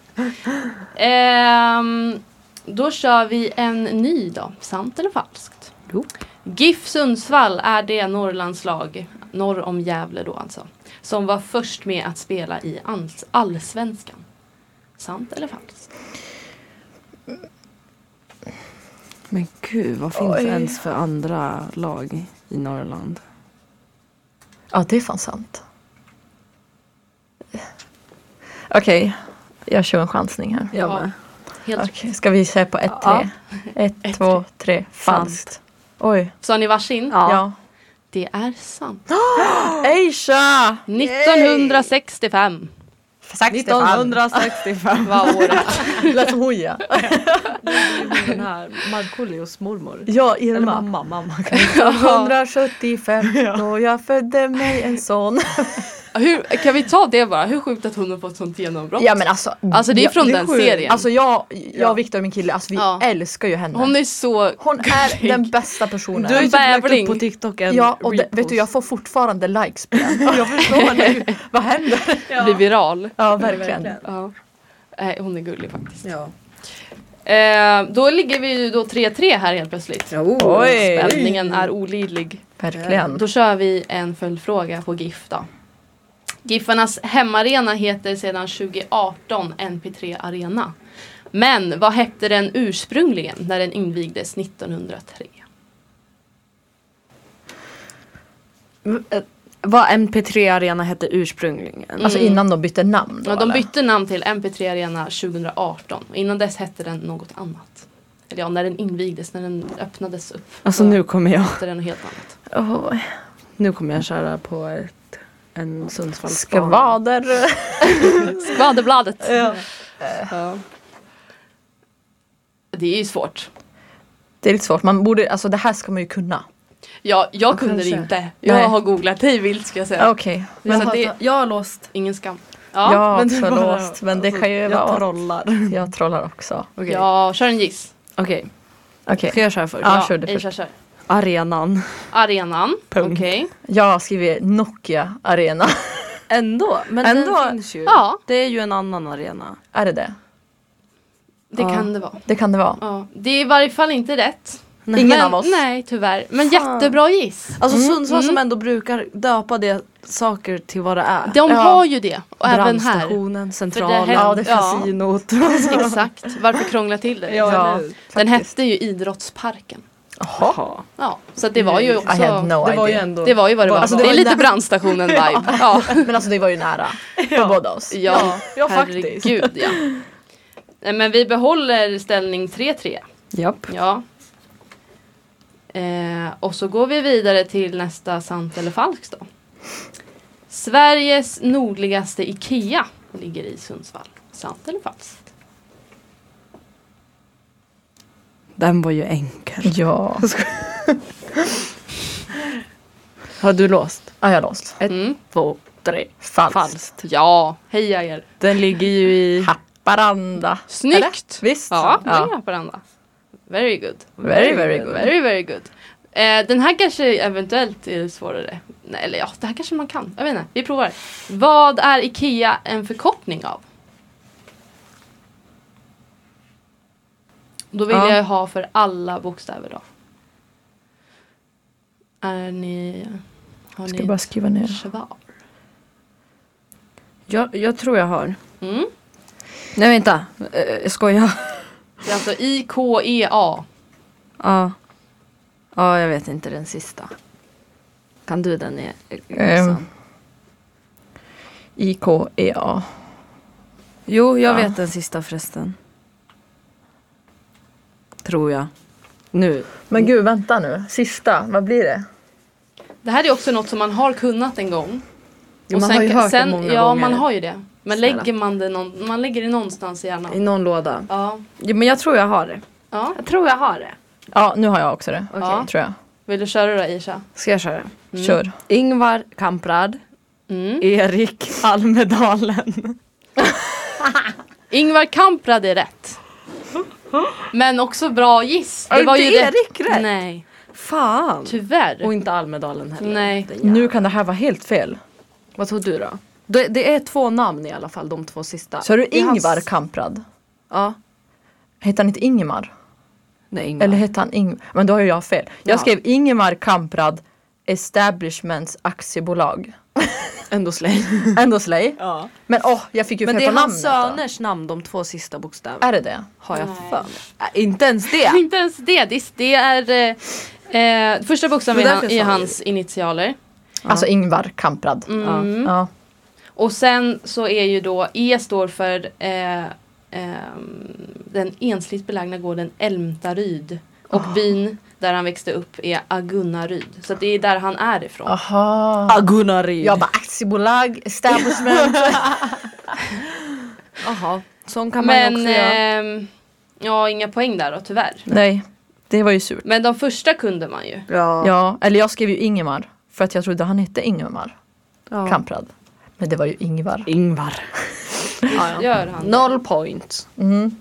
[SPEAKER 2] Ehm, då kör vi en ny då. Sant eller falskt?
[SPEAKER 4] Jo.
[SPEAKER 2] GIF Sundsvall är det Norrlandslag, norr om Gävle då alltså, som var först med att spela i alls- allsvenskan. Sant eller falskt?
[SPEAKER 4] Men gud vad finns
[SPEAKER 3] Oj.
[SPEAKER 4] ens för andra lag i Norrland?
[SPEAKER 3] Ja, det är fan sant. Okej, jag kör en chansning här.
[SPEAKER 2] Jag med. Helt
[SPEAKER 3] Okej, ska vi säga på ett,
[SPEAKER 4] Ja.
[SPEAKER 3] tre? Ett, två, tre. Falskt. Oj.
[SPEAKER 2] Sa ni varsin?
[SPEAKER 4] Ja.
[SPEAKER 3] Ja.
[SPEAKER 2] Det är sant.
[SPEAKER 3] Aisha!
[SPEAKER 2] 1965
[SPEAKER 3] Sagt
[SPEAKER 4] 1965.
[SPEAKER 2] var året.
[SPEAKER 3] Lät som hon ja.
[SPEAKER 4] Den här Markoolios mormor.
[SPEAKER 3] Ja,
[SPEAKER 4] Eller
[SPEAKER 3] Irma.
[SPEAKER 4] mamma, mamma.
[SPEAKER 3] 175 då jag födde mig en son.
[SPEAKER 2] Hur, kan vi ta det bara? Hur sjukt att hon har fått sånt genombrott.
[SPEAKER 3] Ja men alltså.
[SPEAKER 2] Alltså, det är
[SPEAKER 3] ja,
[SPEAKER 2] från den
[SPEAKER 3] sjukt.
[SPEAKER 2] serien.
[SPEAKER 3] Alltså jag, jag och Viktor och min kille, alltså vi
[SPEAKER 2] Ja.
[SPEAKER 3] älskar ju henne.
[SPEAKER 2] Hon är så
[SPEAKER 3] Hon är
[SPEAKER 2] gullig.
[SPEAKER 3] den bästa personen.
[SPEAKER 4] Du har ju typ lagt
[SPEAKER 2] bävling.
[SPEAKER 4] upp på TikTok en
[SPEAKER 3] Ja, och det,
[SPEAKER 4] repost.
[SPEAKER 3] vet du jag får fortfarande likes på den. Jag förstår det. *laughs* Vad händer?
[SPEAKER 2] blir viral.
[SPEAKER 3] Ja, verkligen.
[SPEAKER 2] Ja. Nej, hon är gullig faktiskt.
[SPEAKER 4] Ja.
[SPEAKER 2] Eh, då ligger vi ju då 3-3 här helt plötsligt.
[SPEAKER 4] Ja, oh.
[SPEAKER 3] Oj.
[SPEAKER 2] Spänningen är olidlig.
[SPEAKER 3] Verkligen.
[SPEAKER 2] Då kör vi en följdfråga på GIF då. Giffarnas hemarena heter sedan 2018 NP3 Arena. Men vad hette den ursprungligen när den invigdes 1903?
[SPEAKER 4] Eh, Vad NP3 Arena hette ursprungligen.
[SPEAKER 3] Alltså innan de bytte namn
[SPEAKER 2] Mm.
[SPEAKER 3] då,
[SPEAKER 2] Ja, de
[SPEAKER 3] eller?
[SPEAKER 2] bytte namn till NP3 Arena 2018 och innan dess hette den något annat. Eller ja, när den invigdes, när den öppnades upp.
[SPEAKER 4] Alltså
[SPEAKER 2] då
[SPEAKER 4] nu kommer jag,
[SPEAKER 2] hette den något helt annat.
[SPEAKER 3] Oj.
[SPEAKER 4] nu kommer jag köra på ett, en Sundsvallsbana.
[SPEAKER 3] Skvader.
[SPEAKER 2] Skvaderbladet. Ja. Det är ju svårt.
[SPEAKER 3] Det är lite svårt, man borde, alltså det här ska man ju kunna.
[SPEAKER 2] Ja, jag kunde
[SPEAKER 4] kanske.
[SPEAKER 2] det inte. Jag
[SPEAKER 3] Nej.
[SPEAKER 2] har googlat hej vilt ska jag säga.
[SPEAKER 3] Okej.
[SPEAKER 2] Men
[SPEAKER 4] Men
[SPEAKER 2] så
[SPEAKER 4] det,
[SPEAKER 2] det-
[SPEAKER 4] jag har låst.
[SPEAKER 2] Ingen skam.
[SPEAKER 3] Ja,
[SPEAKER 2] Ja.
[SPEAKER 3] jag har
[SPEAKER 4] men det
[SPEAKER 3] också
[SPEAKER 4] är bara- alltså,
[SPEAKER 3] låst men det kan ju
[SPEAKER 4] Jag
[SPEAKER 3] vara...
[SPEAKER 4] trollar.
[SPEAKER 3] Jag trollar också.
[SPEAKER 4] Okej.
[SPEAKER 2] ja, kör en giss.
[SPEAKER 4] Okej,
[SPEAKER 3] Okej.
[SPEAKER 4] ska jag köra först?
[SPEAKER 3] Ja, kör du
[SPEAKER 2] ej,
[SPEAKER 3] först.
[SPEAKER 2] Kör, kör.
[SPEAKER 4] Arenan.
[SPEAKER 2] Arenan. Okej.
[SPEAKER 4] Punkt.
[SPEAKER 3] Jag skriver Nokia Arena. *laughs*
[SPEAKER 4] Ändå, men
[SPEAKER 3] Ändå.
[SPEAKER 4] den finns ju.
[SPEAKER 2] Ja.
[SPEAKER 4] Det är ju en annan arena.
[SPEAKER 3] är det det?
[SPEAKER 2] Det
[SPEAKER 4] Ja.
[SPEAKER 2] kan det vara.
[SPEAKER 3] Det kan det vara.
[SPEAKER 2] Ja. Det är i varje fall inte rätt.
[SPEAKER 3] Ingen
[SPEAKER 2] Men,
[SPEAKER 3] av oss.
[SPEAKER 2] Nej, tyvärr. Men
[SPEAKER 4] Fan.
[SPEAKER 2] jättebra giss.
[SPEAKER 4] Alltså Sundsvall som
[SPEAKER 2] mm.
[SPEAKER 4] ändå brukar döpa det saker till vad det är.
[SPEAKER 2] De
[SPEAKER 3] Ja.
[SPEAKER 2] har ju det. Och även här.
[SPEAKER 4] Brandstationen,
[SPEAKER 2] För
[SPEAKER 4] centralen,
[SPEAKER 2] det
[SPEAKER 3] Ja, det
[SPEAKER 2] Ja.
[SPEAKER 4] kasinot.
[SPEAKER 2] *laughs* Exakt. Varför krångla till det?
[SPEAKER 3] Ja,
[SPEAKER 2] Den
[SPEAKER 3] faktiskt.
[SPEAKER 2] hette ju Idrottsparken.
[SPEAKER 4] Jaha.
[SPEAKER 2] Ja, så att det var ju
[SPEAKER 3] Mm. I had
[SPEAKER 2] också...
[SPEAKER 3] no
[SPEAKER 4] Det var ju
[SPEAKER 3] idea.
[SPEAKER 4] ändå.
[SPEAKER 2] Det var ju vad det var.
[SPEAKER 3] Alltså,
[SPEAKER 2] det,
[SPEAKER 3] det var
[SPEAKER 2] är
[SPEAKER 3] ju
[SPEAKER 2] lite
[SPEAKER 3] där-
[SPEAKER 2] brandstationen
[SPEAKER 3] *laughs*
[SPEAKER 2] vibe. Ja,
[SPEAKER 3] Men alltså det var ju nära. För båda oss.
[SPEAKER 2] ja,
[SPEAKER 3] ja, faktiskt.
[SPEAKER 2] herregud ja. Nej, men vi behåller ställning 3-3.
[SPEAKER 4] Japp.
[SPEAKER 2] Ja. Eh, och så går vi vidare till nästa sant eller falskt då. Sveriges nordligaste IKEA ligger i Sundsvall. Sant eller falskt?
[SPEAKER 4] Den var ju
[SPEAKER 2] Mm.
[SPEAKER 4] enkel.
[SPEAKER 3] Ja.
[SPEAKER 4] Har du låst?
[SPEAKER 3] ja, jag har låst.
[SPEAKER 4] Ett,
[SPEAKER 2] Mm.
[SPEAKER 4] två, tre.
[SPEAKER 3] Falskt.
[SPEAKER 4] Falskt.
[SPEAKER 2] Ja, heja er!
[SPEAKER 4] Den ligger ju i...
[SPEAKER 3] Haparanda.
[SPEAKER 2] Snyggt!
[SPEAKER 3] Eller? Visst?
[SPEAKER 2] Ja, ja.
[SPEAKER 3] ja.
[SPEAKER 2] Haparanda. Very good.
[SPEAKER 3] Very, very good.
[SPEAKER 2] Very, very good. Eh, den här kanske eventuellt är svårare. Nej, eller ja, det här kanske man kan. Jag vet inte, vi provar. Vad är IKEA en förkortning av? Då vill
[SPEAKER 4] Ja.
[SPEAKER 2] jag ha för alla bokstäver då. Är ni... Har
[SPEAKER 3] Jag
[SPEAKER 2] ni
[SPEAKER 3] ska bara skriva
[SPEAKER 2] ett
[SPEAKER 3] ner.
[SPEAKER 2] svar?
[SPEAKER 4] Jag, jag tror jag har.
[SPEAKER 2] Mm.
[SPEAKER 4] Nej vänta, Eh, jag skojar.
[SPEAKER 2] Det är alltså IKEA.
[SPEAKER 4] Ja. Ja, jag vet inte den sista. Kan du den? i-
[SPEAKER 3] Ehm. IKEA.
[SPEAKER 4] Jo, jag
[SPEAKER 3] Ja.
[SPEAKER 4] vet den sista förresten. Tror jag. Nu.
[SPEAKER 3] Men gud, vänta nu. Sista, vad blir det?
[SPEAKER 2] Det här är också något som man har kunnat en gång.
[SPEAKER 4] Ja, man har ju hört det många
[SPEAKER 2] Ja,
[SPEAKER 4] gånger.
[SPEAKER 2] man har ju det. Men
[SPEAKER 4] Snälla.
[SPEAKER 2] lägger man det, någon, man lägger det någonstans i
[SPEAKER 4] I
[SPEAKER 2] hjärnan.
[SPEAKER 4] någon låda.
[SPEAKER 2] Ja.
[SPEAKER 4] Ja, men jag tror jag har det.
[SPEAKER 2] ja.
[SPEAKER 4] Jag tror jag har det.
[SPEAKER 3] Ja, nu har jag också det.
[SPEAKER 4] Okej. Mm.
[SPEAKER 2] Ja.
[SPEAKER 3] Tror jag.
[SPEAKER 2] Vill du köra då Isha?
[SPEAKER 4] Ska jag köra?
[SPEAKER 3] Kör.
[SPEAKER 4] Ingvar Kamprad.
[SPEAKER 2] Mm.
[SPEAKER 4] Erik Almedalen.
[SPEAKER 2] Ingvar Kamprad är rätt. Men också bra giss.
[SPEAKER 4] Är inte Erik rätt?
[SPEAKER 2] Nej,
[SPEAKER 4] Fan.
[SPEAKER 2] tyvärr.
[SPEAKER 4] Och inte Almedalen heller.
[SPEAKER 2] Nej.
[SPEAKER 4] Den jävla-
[SPEAKER 3] Nu kan det här vara helt fel.
[SPEAKER 4] Vad tror du då? Det, det är två namn i alla fall, de två sista.
[SPEAKER 3] Så är du
[SPEAKER 4] Det är hans-
[SPEAKER 3] Ingvar Kamprad?
[SPEAKER 4] Ja.
[SPEAKER 3] Heter han inte Ingemar?
[SPEAKER 4] Nej, Ingvar.
[SPEAKER 3] Eller heter han Ingvar? Men då har ju jag fel. Jag
[SPEAKER 4] Ja.
[SPEAKER 3] skrev Ingemar Kamprad Establishments aktiebolag.
[SPEAKER 4] Ändå släng.
[SPEAKER 3] Ändå slay.
[SPEAKER 4] ja.
[SPEAKER 3] Men åh, jag fick ju
[SPEAKER 4] *laughs* Men
[SPEAKER 3] fel
[SPEAKER 4] det
[SPEAKER 3] på
[SPEAKER 4] är hans
[SPEAKER 3] namnet. då.
[SPEAKER 4] söners namn, de två sista bokstäverna.
[SPEAKER 3] Är det det?
[SPEAKER 4] Har jag
[SPEAKER 2] Nej.
[SPEAKER 4] för mig. Äh, inte ens det. *laughs*
[SPEAKER 2] Inte ens det. Det- Det är eh, eh, första bokstaven
[SPEAKER 4] Det var
[SPEAKER 2] är, han,
[SPEAKER 4] därför
[SPEAKER 2] är
[SPEAKER 4] jag sa
[SPEAKER 2] hans initialer.
[SPEAKER 3] Alltså Ingvar Kamprad.
[SPEAKER 2] Mm.
[SPEAKER 3] Ja.
[SPEAKER 2] Och sen så är ju då E står för eh, ehm, den ensligt belägna gården Älmtaryd. Och
[SPEAKER 4] Ah.
[SPEAKER 2] byn där han växte upp är Agunnaryd. Så att det är där han är ifrån.
[SPEAKER 3] Aha.
[SPEAKER 4] Agunnaryd.
[SPEAKER 3] Jag bara aktiebolag, establishment.
[SPEAKER 4] Jaha, sån kan man ju
[SPEAKER 2] Men
[SPEAKER 4] också göra.
[SPEAKER 2] ehm, ja, inga poäng där då tyvärr.
[SPEAKER 3] Nej, det var ju surt.
[SPEAKER 2] Men de första kunde man ju.
[SPEAKER 4] Ja.
[SPEAKER 3] Ja, eller jag skrev ju Ingemar. För att jag trodde han hette Ingemar Kamprad. Men det var ju Ingvar.
[SPEAKER 4] Ingvar. ja,
[SPEAKER 2] *laughs*
[SPEAKER 4] ja.
[SPEAKER 2] Gör han det?
[SPEAKER 4] Noll point
[SPEAKER 3] Mm.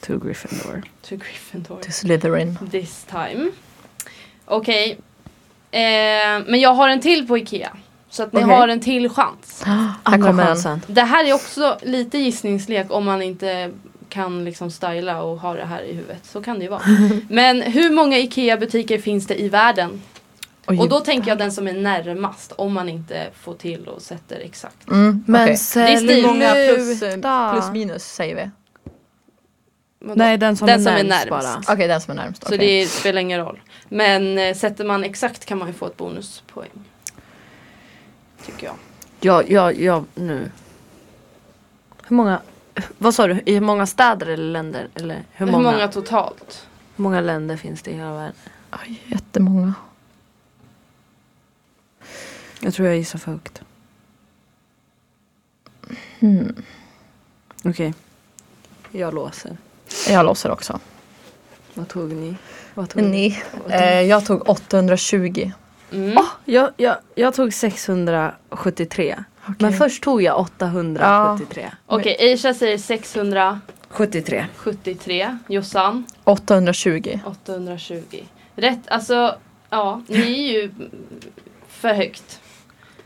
[SPEAKER 4] to Gryffindor.
[SPEAKER 2] To Gryffindor.
[SPEAKER 3] Till Slytherin.
[SPEAKER 2] This time. Okej. Eh, men jag har en till på Ikea. Så att ni
[SPEAKER 3] Okej.
[SPEAKER 2] har en till chans.
[SPEAKER 3] Här kommer den.
[SPEAKER 4] chansen.
[SPEAKER 2] Det här är också lite gissningslek om man inte kan liksom styla och ha det här i huvudet. Så kan det ju
[SPEAKER 4] *laughs*
[SPEAKER 2] vara. Men hur många Ikea-butiker finns det i världen?
[SPEAKER 3] Oj.
[SPEAKER 2] Och då tänker jag den som är närmast om man inte får till och sätter exakt.
[SPEAKER 3] Mm,
[SPEAKER 4] Men
[SPEAKER 3] okej.
[SPEAKER 4] sen
[SPEAKER 2] Det är
[SPEAKER 3] Hur många plus,
[SPEAKER 4] sluta.
[SPEAKER 3] plus minus säger vi?
[SPEAKER 2] Vadå?
[SPEAKER 4] Nej, den som
[SPEAKER 2] Den
[SPEAKER 4] är
[SPEAKER 2] som är
[SPEAKER 4] närmst
[SPEAKER 2] närmast.
[SPEAKER 4] bara.
[SPEAKER 3] Okej, den som är närmst.
[SPEAKER 2] Så
[SPEAKER 3] okej.
[SPEAKER 2] det spelar ingen roll. Men eh, sätter man exakt kan man ju få ett bonuspoäng. Tycker jag.
[SPEAKER 4] Ja, ja, ja, nu. Hur många, vad sa du, i hur många städer eller länder? Eller hur,
[SPEAKER 2] Hur
[SPEAKER 4] många,
[SPEAKER 2] många totalt?
[SPEAKER 4] hur många länder finns det i hela världen?
[SPEAKER 3] Oj, jättemånga.
[SPEAKER 4] Jag tror jag gissar för högt. Okej. Hmm. Jag låser.
[SPEAKER 3] Jag låser också.
[SPEAKER 4] Vad tog ni? Vad tog
[SPEAKER 3] Ni. Eh, jag tog 820.
[SPEAKER 2] Mm.
[SPEAKER 4] Åh, jag, jag, jag tog 673. Men först tog jag 873.
[SPEAKER 2] Okej, Aisha säger 673.
[SPEAKER 4] 73.
[SPEAKER 2] Jossan
[SPEAKER 3] 820.
[SPEAKER 2] 820. Rätt, alltså ja, ni är ju för högt.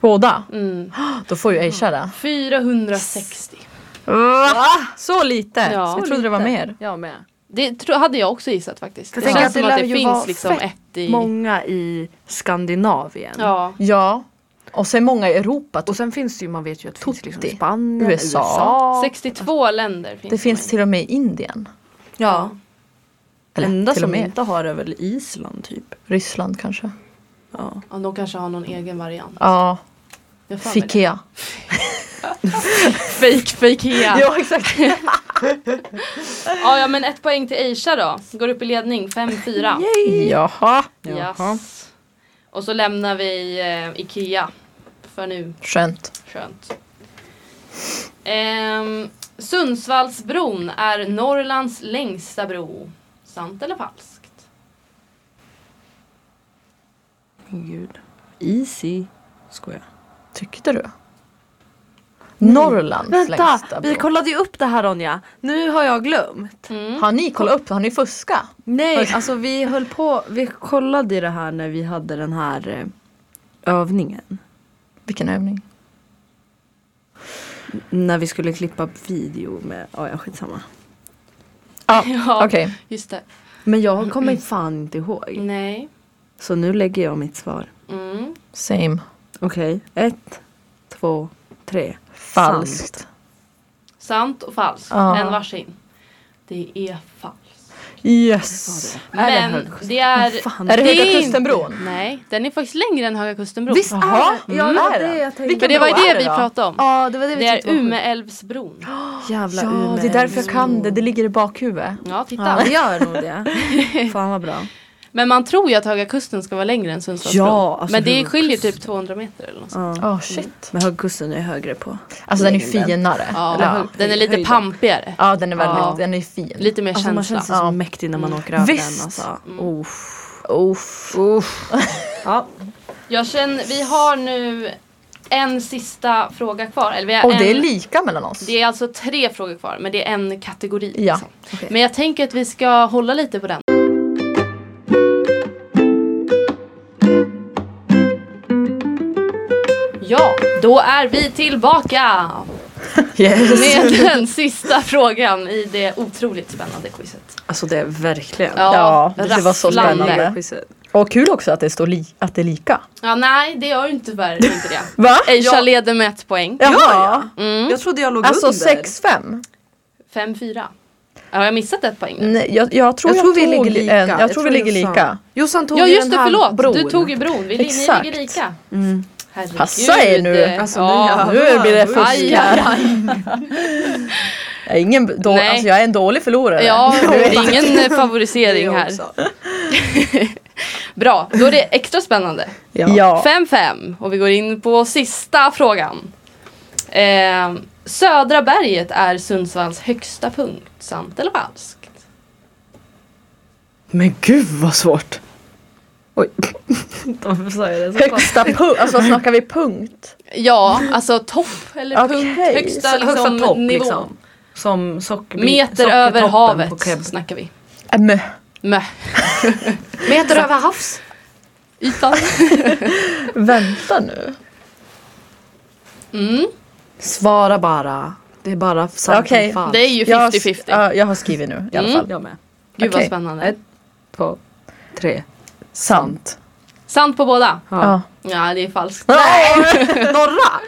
[SPEAKER 3] Båda?
[SPEAKER 2] Mm.
[SPEAKER 3] Då får ju Aisha det.
[SPEAKER 2] 460.
[SPEAKER 3] Va? Så lite?
[SPEAKER 2] Ja.
[SPEAKER 3] jag trodde det var mer.
[SPEAKER 4] Jag med.
[SPEAKER 2] Det tro, hade jag också gissat faktiskt.
[SPEAKER 4] Jag
[SPEAKER 2] Det
[SPEAKER 4] tänker
[SPEAKER 2] känns
[SPEAKER 4] att
[SPEAKER 2] som
[SPEAKER 4] det
[SPEAKER 2] att
[SPEAKER 4] lär
[SPEAKER 2] det
[SPEAKER 4] ju vara
[SPEAKER 2] finns liksom
[SPEAKER 4] fett
[SPEAKER 2] ett i...
[SPEAKER 4] Många i Skandinavien.
[SPEAKER 2] Ja.
[SPEAKER 3] Ja. Och sen många i Europa.
[SPEAKER 4] Och sen finns det ju, man vet ju att det finns liksom
[SPEAKER 3] Tutti.
[SPEAKER 4] Spanien,
[SPEAKER 3] USA.
[SPEAKER 4] USA.
[SPEAKER 2] 62 länder finns
[SPEAKER 3] Det finns
[SPEAKER 2] med.
[SPEAKER 3] till och med i Indien.
[SPEAKER 4] typ- Ja.
[SPEAKER 3] Eller
[SPEAKER 4] Enda
[SPEAKER 3] till och
[SPEAKER 4] som
[SPEAKER 3] med
[SPEAKER 4] inte har är väl Island typ.
[SPEAKER 3] Ryssland kanske.
[SPEAKER 4] Ja.
[SPEAKER 2] Ja, de kanske har någon egen variant.
[SPEAKER 3] Ja,
[SPEAKER 2] Jag har för mig det.
[SPEAKER 3] Fikea.
[SPEAKER 2] Fake, fake yeah.
[SPEAKER 4] *laughs*
[SPEAKER 3] Ja, exakt.
[SPEAKER 2] ja, ja, men ett poäng till Aisha då. Går upp i ledning, 5-4.
[SPEAKER 3] Jaha.
[SPEAKER 2] Yes. Och så lämnar vi eh, Ikea. För nu,
[SPEAKER 3] Skönt.
[SPEAKER 2] skönt. Ehm, Sundsvallsbron är Norrlands längsta bro. Sant eller falskt? *laughs*
[SPEAKER 4] Min gud. Easy. Skojar.
[SPEAKER 3] Tyckte du? Norrlands längsta
[SPEAKER 4] Vänta,
[SPEAKER 3] bro.
[SPEAKER 4] vi kollade ju upp det här Ronja. Nu har jag glömt.
[SPEAKER 3] Har ni kollat upp? Har ni fuskat?
[SPEAKER 4] Nej, alltså vi höll på, vi kollade i det här när vi hade den här eh, övningen.
[SPEAKER 3] Vilken övning?
[SPEAKER 4] När vi skulle klippa upp video med, ja ja skitsamma.
[SPEAKER 3] Ah,
[SPEAKER 2] Ja.
[SPEAKER 3] Okej.
[SPEAKER 2] Just det.
[SPEAKER 4] Men jag kommer
[SPEAKER 3] Mm.
[SPEAKER 4] fan inte ihåg.
[SPEAKER 2] Nej.
[SPEAKER 4] Så nu lägger jag mitt svar.
[SPEAKER 2] Mm.
[SPEAKER 3] Same.
[SPEAKER 4] Okej, ett, två, tre.
[SPEAKER 3] Falskt.
[SPEAKER 2] Sant och falskt.
[SPEAKER 3] Ja.
[SPEAKER 2] En varsin. Det är falskt.
[SPEAKER 3] Yes.
[SPEAKER 4] Är
[SPEAKER 2] Men det är...
[SPEAKER 4] Fan.
[SPEAKER 3] Är det
[SPEAKER 2] är
[SPEAKER 3] Höga
[SPEAKER 2] inte-
[SPEAKER 3] Kustenbron?
[SPEAKER 2] Nej, den är faktiskt längre än Höga Kustenbron.
[SPEAKER 4] Visst
[SPEAKER 3] Jaha.
[SPEAKER 4] är det? Ja, det var
[SPEAKER 3] Mm.
[SPEAKER 4] det jag tänkte.
[SPEAKER 2] För det var ju
[SPEAKER 3] bro är
[SPEAKER 2] det
[SPEAKER 3] det
[SPEAKER 2] vi
[SPEAKER 3] då?
[SPEAKER 2] pratade om.
[SPEAKER 4] Ja, det var det vi
[SPEAKER 2] Det är
[SPEAKER 4] tyckte var sjukt.
[SPEAKER 2] Umeälvsbron.
[SPEAKER 4] Jävla
[SPEAKER 3] Ja,
[SPEAKER 4] Umeå.
[SPEAKER 3] det är därför jag kan det. Det ligger i bakhuvudet.
[SPEAKER 2] Ja, titta.
[SPEAKER 3] *laughs*
[SPEAKER 4] Ja, det gör nog det. Fan vad bra.
[SPEAKER 2] Men man tror ju att Höga Kusten ska vara längre än Sundsvallsbron.
[SPEAKER 4] Ja, alltså
[SPEAKER 2] men det
[SPEAKER 4] hur-
[SPEAKER 2] skiljer typ 200 meter eller något sånt.
[SPEAKER 4] Ja.
[SPEAKER 3] Åh shit.
[SPEAKER 4] Men högkusten är högre på.
[SPEAKER 3] Alltså den är
[SPEAKER 4] längden.
[SPEAKER 3] finare.
[SPEAKER 2] Ja,
[SPEAKER 3] Eller-
[SPEAKER 2] Den är lite
[SPEAKER 4] höjden.
[SPEAKER 2] pampigare.
[SPEAKER 3] ja den är väldigt,
[SPEAKER 4] Ja.
[SPEAKER 3] den är fin.
[SPEAKER 2] Lite mer
[SPEAKER 4] Alltså man
[SPEAKER 2] känsla. Mm.
[SPEAKER 4] känner sig så mäktig när man åker över
[SPEAKER 3] Mm. Visst.
[SPEAKER 4] den. Alltså. Uff.
[SPEAKER 3] Uff.
[SPEAKER 4] Ja.
[SPEAKER 2] Jag känner, vi har nu en sista fråga kvar. Eller vi har
[SPEAKER 3] Och det är
[SPEAKER 2] en,
[SPEAKER 3] lika mellan oss.
[SPEAKER 2] det är alltså tre frågor kvar men det är en kategori.
[SPEAKER 3] Ja.
[SPEAKER 2] liksom.
[SPEAKER 4] Okej.
[SPEAKER 2] Men jag tänker att vi ska hålla lite på den. Ja, då är vi tillbaka
[SPEAKER 3] *laughs* Yes.
[SPEAKER 2] med den sista frågan i det otroligt spännande quizet.
[SPEAKER 4] Alltså det är verkligen.
[SPEAKER 3] Ja, det var så
[SPEAKER 2] rasslande.
[SPEAKER 3] spännande.
[SPEAKER 4] Quizet.
[SPEAKER 3] Och kul också att det står li- att det är lika.
[SPEAKER 2] Ja, nej, det gör ju tyvärr inte
[SPEAKER 3] *laughs*
[SPEAKER 2] det.
[SPEAKER 3] Va?
[SPEAKER 2] Aisha leder med ett poäng.
[SPEAKER 3] Jaha.
[SPEAKER 4] Ja,
[SPEAKER 2] Mm.
[SPEAKER 4] Jag trodde jag låg
[SPEAKER 3] Alltså
[SPEAKER 4] under.
[SPEAKER 3] 6-5.
[SPEAKER 2] 5-4. Ja, Har jag missat ett poäng nu?
[SPEAKER 3] Nej, jag, jag tror, jag tror vi ligger lika. En, jag, tror vi ligger
[SPEAKER 4] Jossan-
[SPEAKER 3] lika.
[SPEAKER 4] Jossan tog
[SPEAKER 2] Ja
[SPEAKER 4] ju
[SPEAKER 2] just
[SPEAKER 4] den
[SPEAKER 2] det,
[SPEAKER 4] här
[SPEAKER 2] förlåt.
[SPEAKER 4] bron.
[SPEAKER 2] Du tog ju bron. Vi, ni
[SPEAKER 3] Exakt.
[SPEAKER 2] ligger lika.
[SPEAKER 4] Mm.
[SPEAKER 2] Herregud.
[SPEAKER 3] Passa er nu.
[SPEAKER 4] Alltså,
[SPEAKER 2] ja.
[SPEAKER 4] ni
[SPEAKER 3] Nu blir det
[SPEAKER 4] Oj.
[SPEAKER 2] Aj,
[SPEAKER 3] fusk
[SPEAKER 2] aj,
[SPEAKER 3] här.
[SPEAKER 2] aj.
[SPEAKER 3] Jag är, ingen då,
[SPEAKER 2] Nej.
[SPEAKER 3] alltså jag är en dålig förlorare.
[SPEAKER 2] Ja,
[SPEAKER 3] Jag
[SPEAKER 2] det
[SPEAKER 3] vet.
[SPEAKER 2] är ingen favorisering
[SPEAKER 4] Jag
[SPEAKER 2] här. *laughs*
[SPEAKER 4] också.
[SPEAKER 2] Bra, då är det extra spännande.
[SPEAKER 3] ja. ja.
[SPEAKER 2] 5-5 och vi går in på sista frågan. Eh, södra berget är Sundsvalls högsta punkt, sant eller falskt?
[SPEAKER 4] Men gud vad svårt. Oj. Varför sa jag det så konstigt?
[SPEAKER 3] Högsta punkt, alltså snackar vi punkt?
[SPEAKER 2] Ja, alltså topp eller
[SPEAKER 3] Okej,
[SPEAKER 2] punkt,
[SPEAKER 3] så
[SPEAKER 2] högsta, liksom,
[SPEAKER 4] Högsta topp
[SPEAKER 2] nivå.
[SPEAKER 4] liksom. Som socker,
[SPEAKER 2] Meter över havet
[SPEAKER 4] På Keb-
[SPEAKER 2] snackar vi.
[SPEAKER 4] Äh,
[SPEAKER 3] Mm.
[SPEAKER 2] Mö.
[SPEAKER 4] Meter över havs.
[SPEAKER 2] Ytan.
[SPEAKER 3] Vänta nu.
[SPEAKER 2] Mm.
[SPEAKER 4] Svara bara. Det är bara sant
[SPEAKER 3] Okej.
[SPEAKER 4] eller falskt.
[SPEAKER 2] Det är ju
[SPEAKER 3] Jag har,
[SPEAKER 2] 50-50.
[SPEAKER 3] ja, jag har skrivit nu i alla
[SPEAKER 2] Mm.
[SPEAKER 3] fall.
[SPEAKER 4] Jag med.
[SPEAKER 2] Gud vad
[SPEAKER 3] Okej.
[SPEAKER 2] spännande.
[SPEAKER 4] Ett, två, tre.
[SPEAKER 3] Sant.
[SPEAKER 2] Sant på båda.
[SPEAKER 4] Ja.
[SPEAKER 3] Ja.
[SPEAKER 2] Ja, det är falskt.
[SPEAKER 3] Nej!
[SPEAKER 4] *laughs* Norra!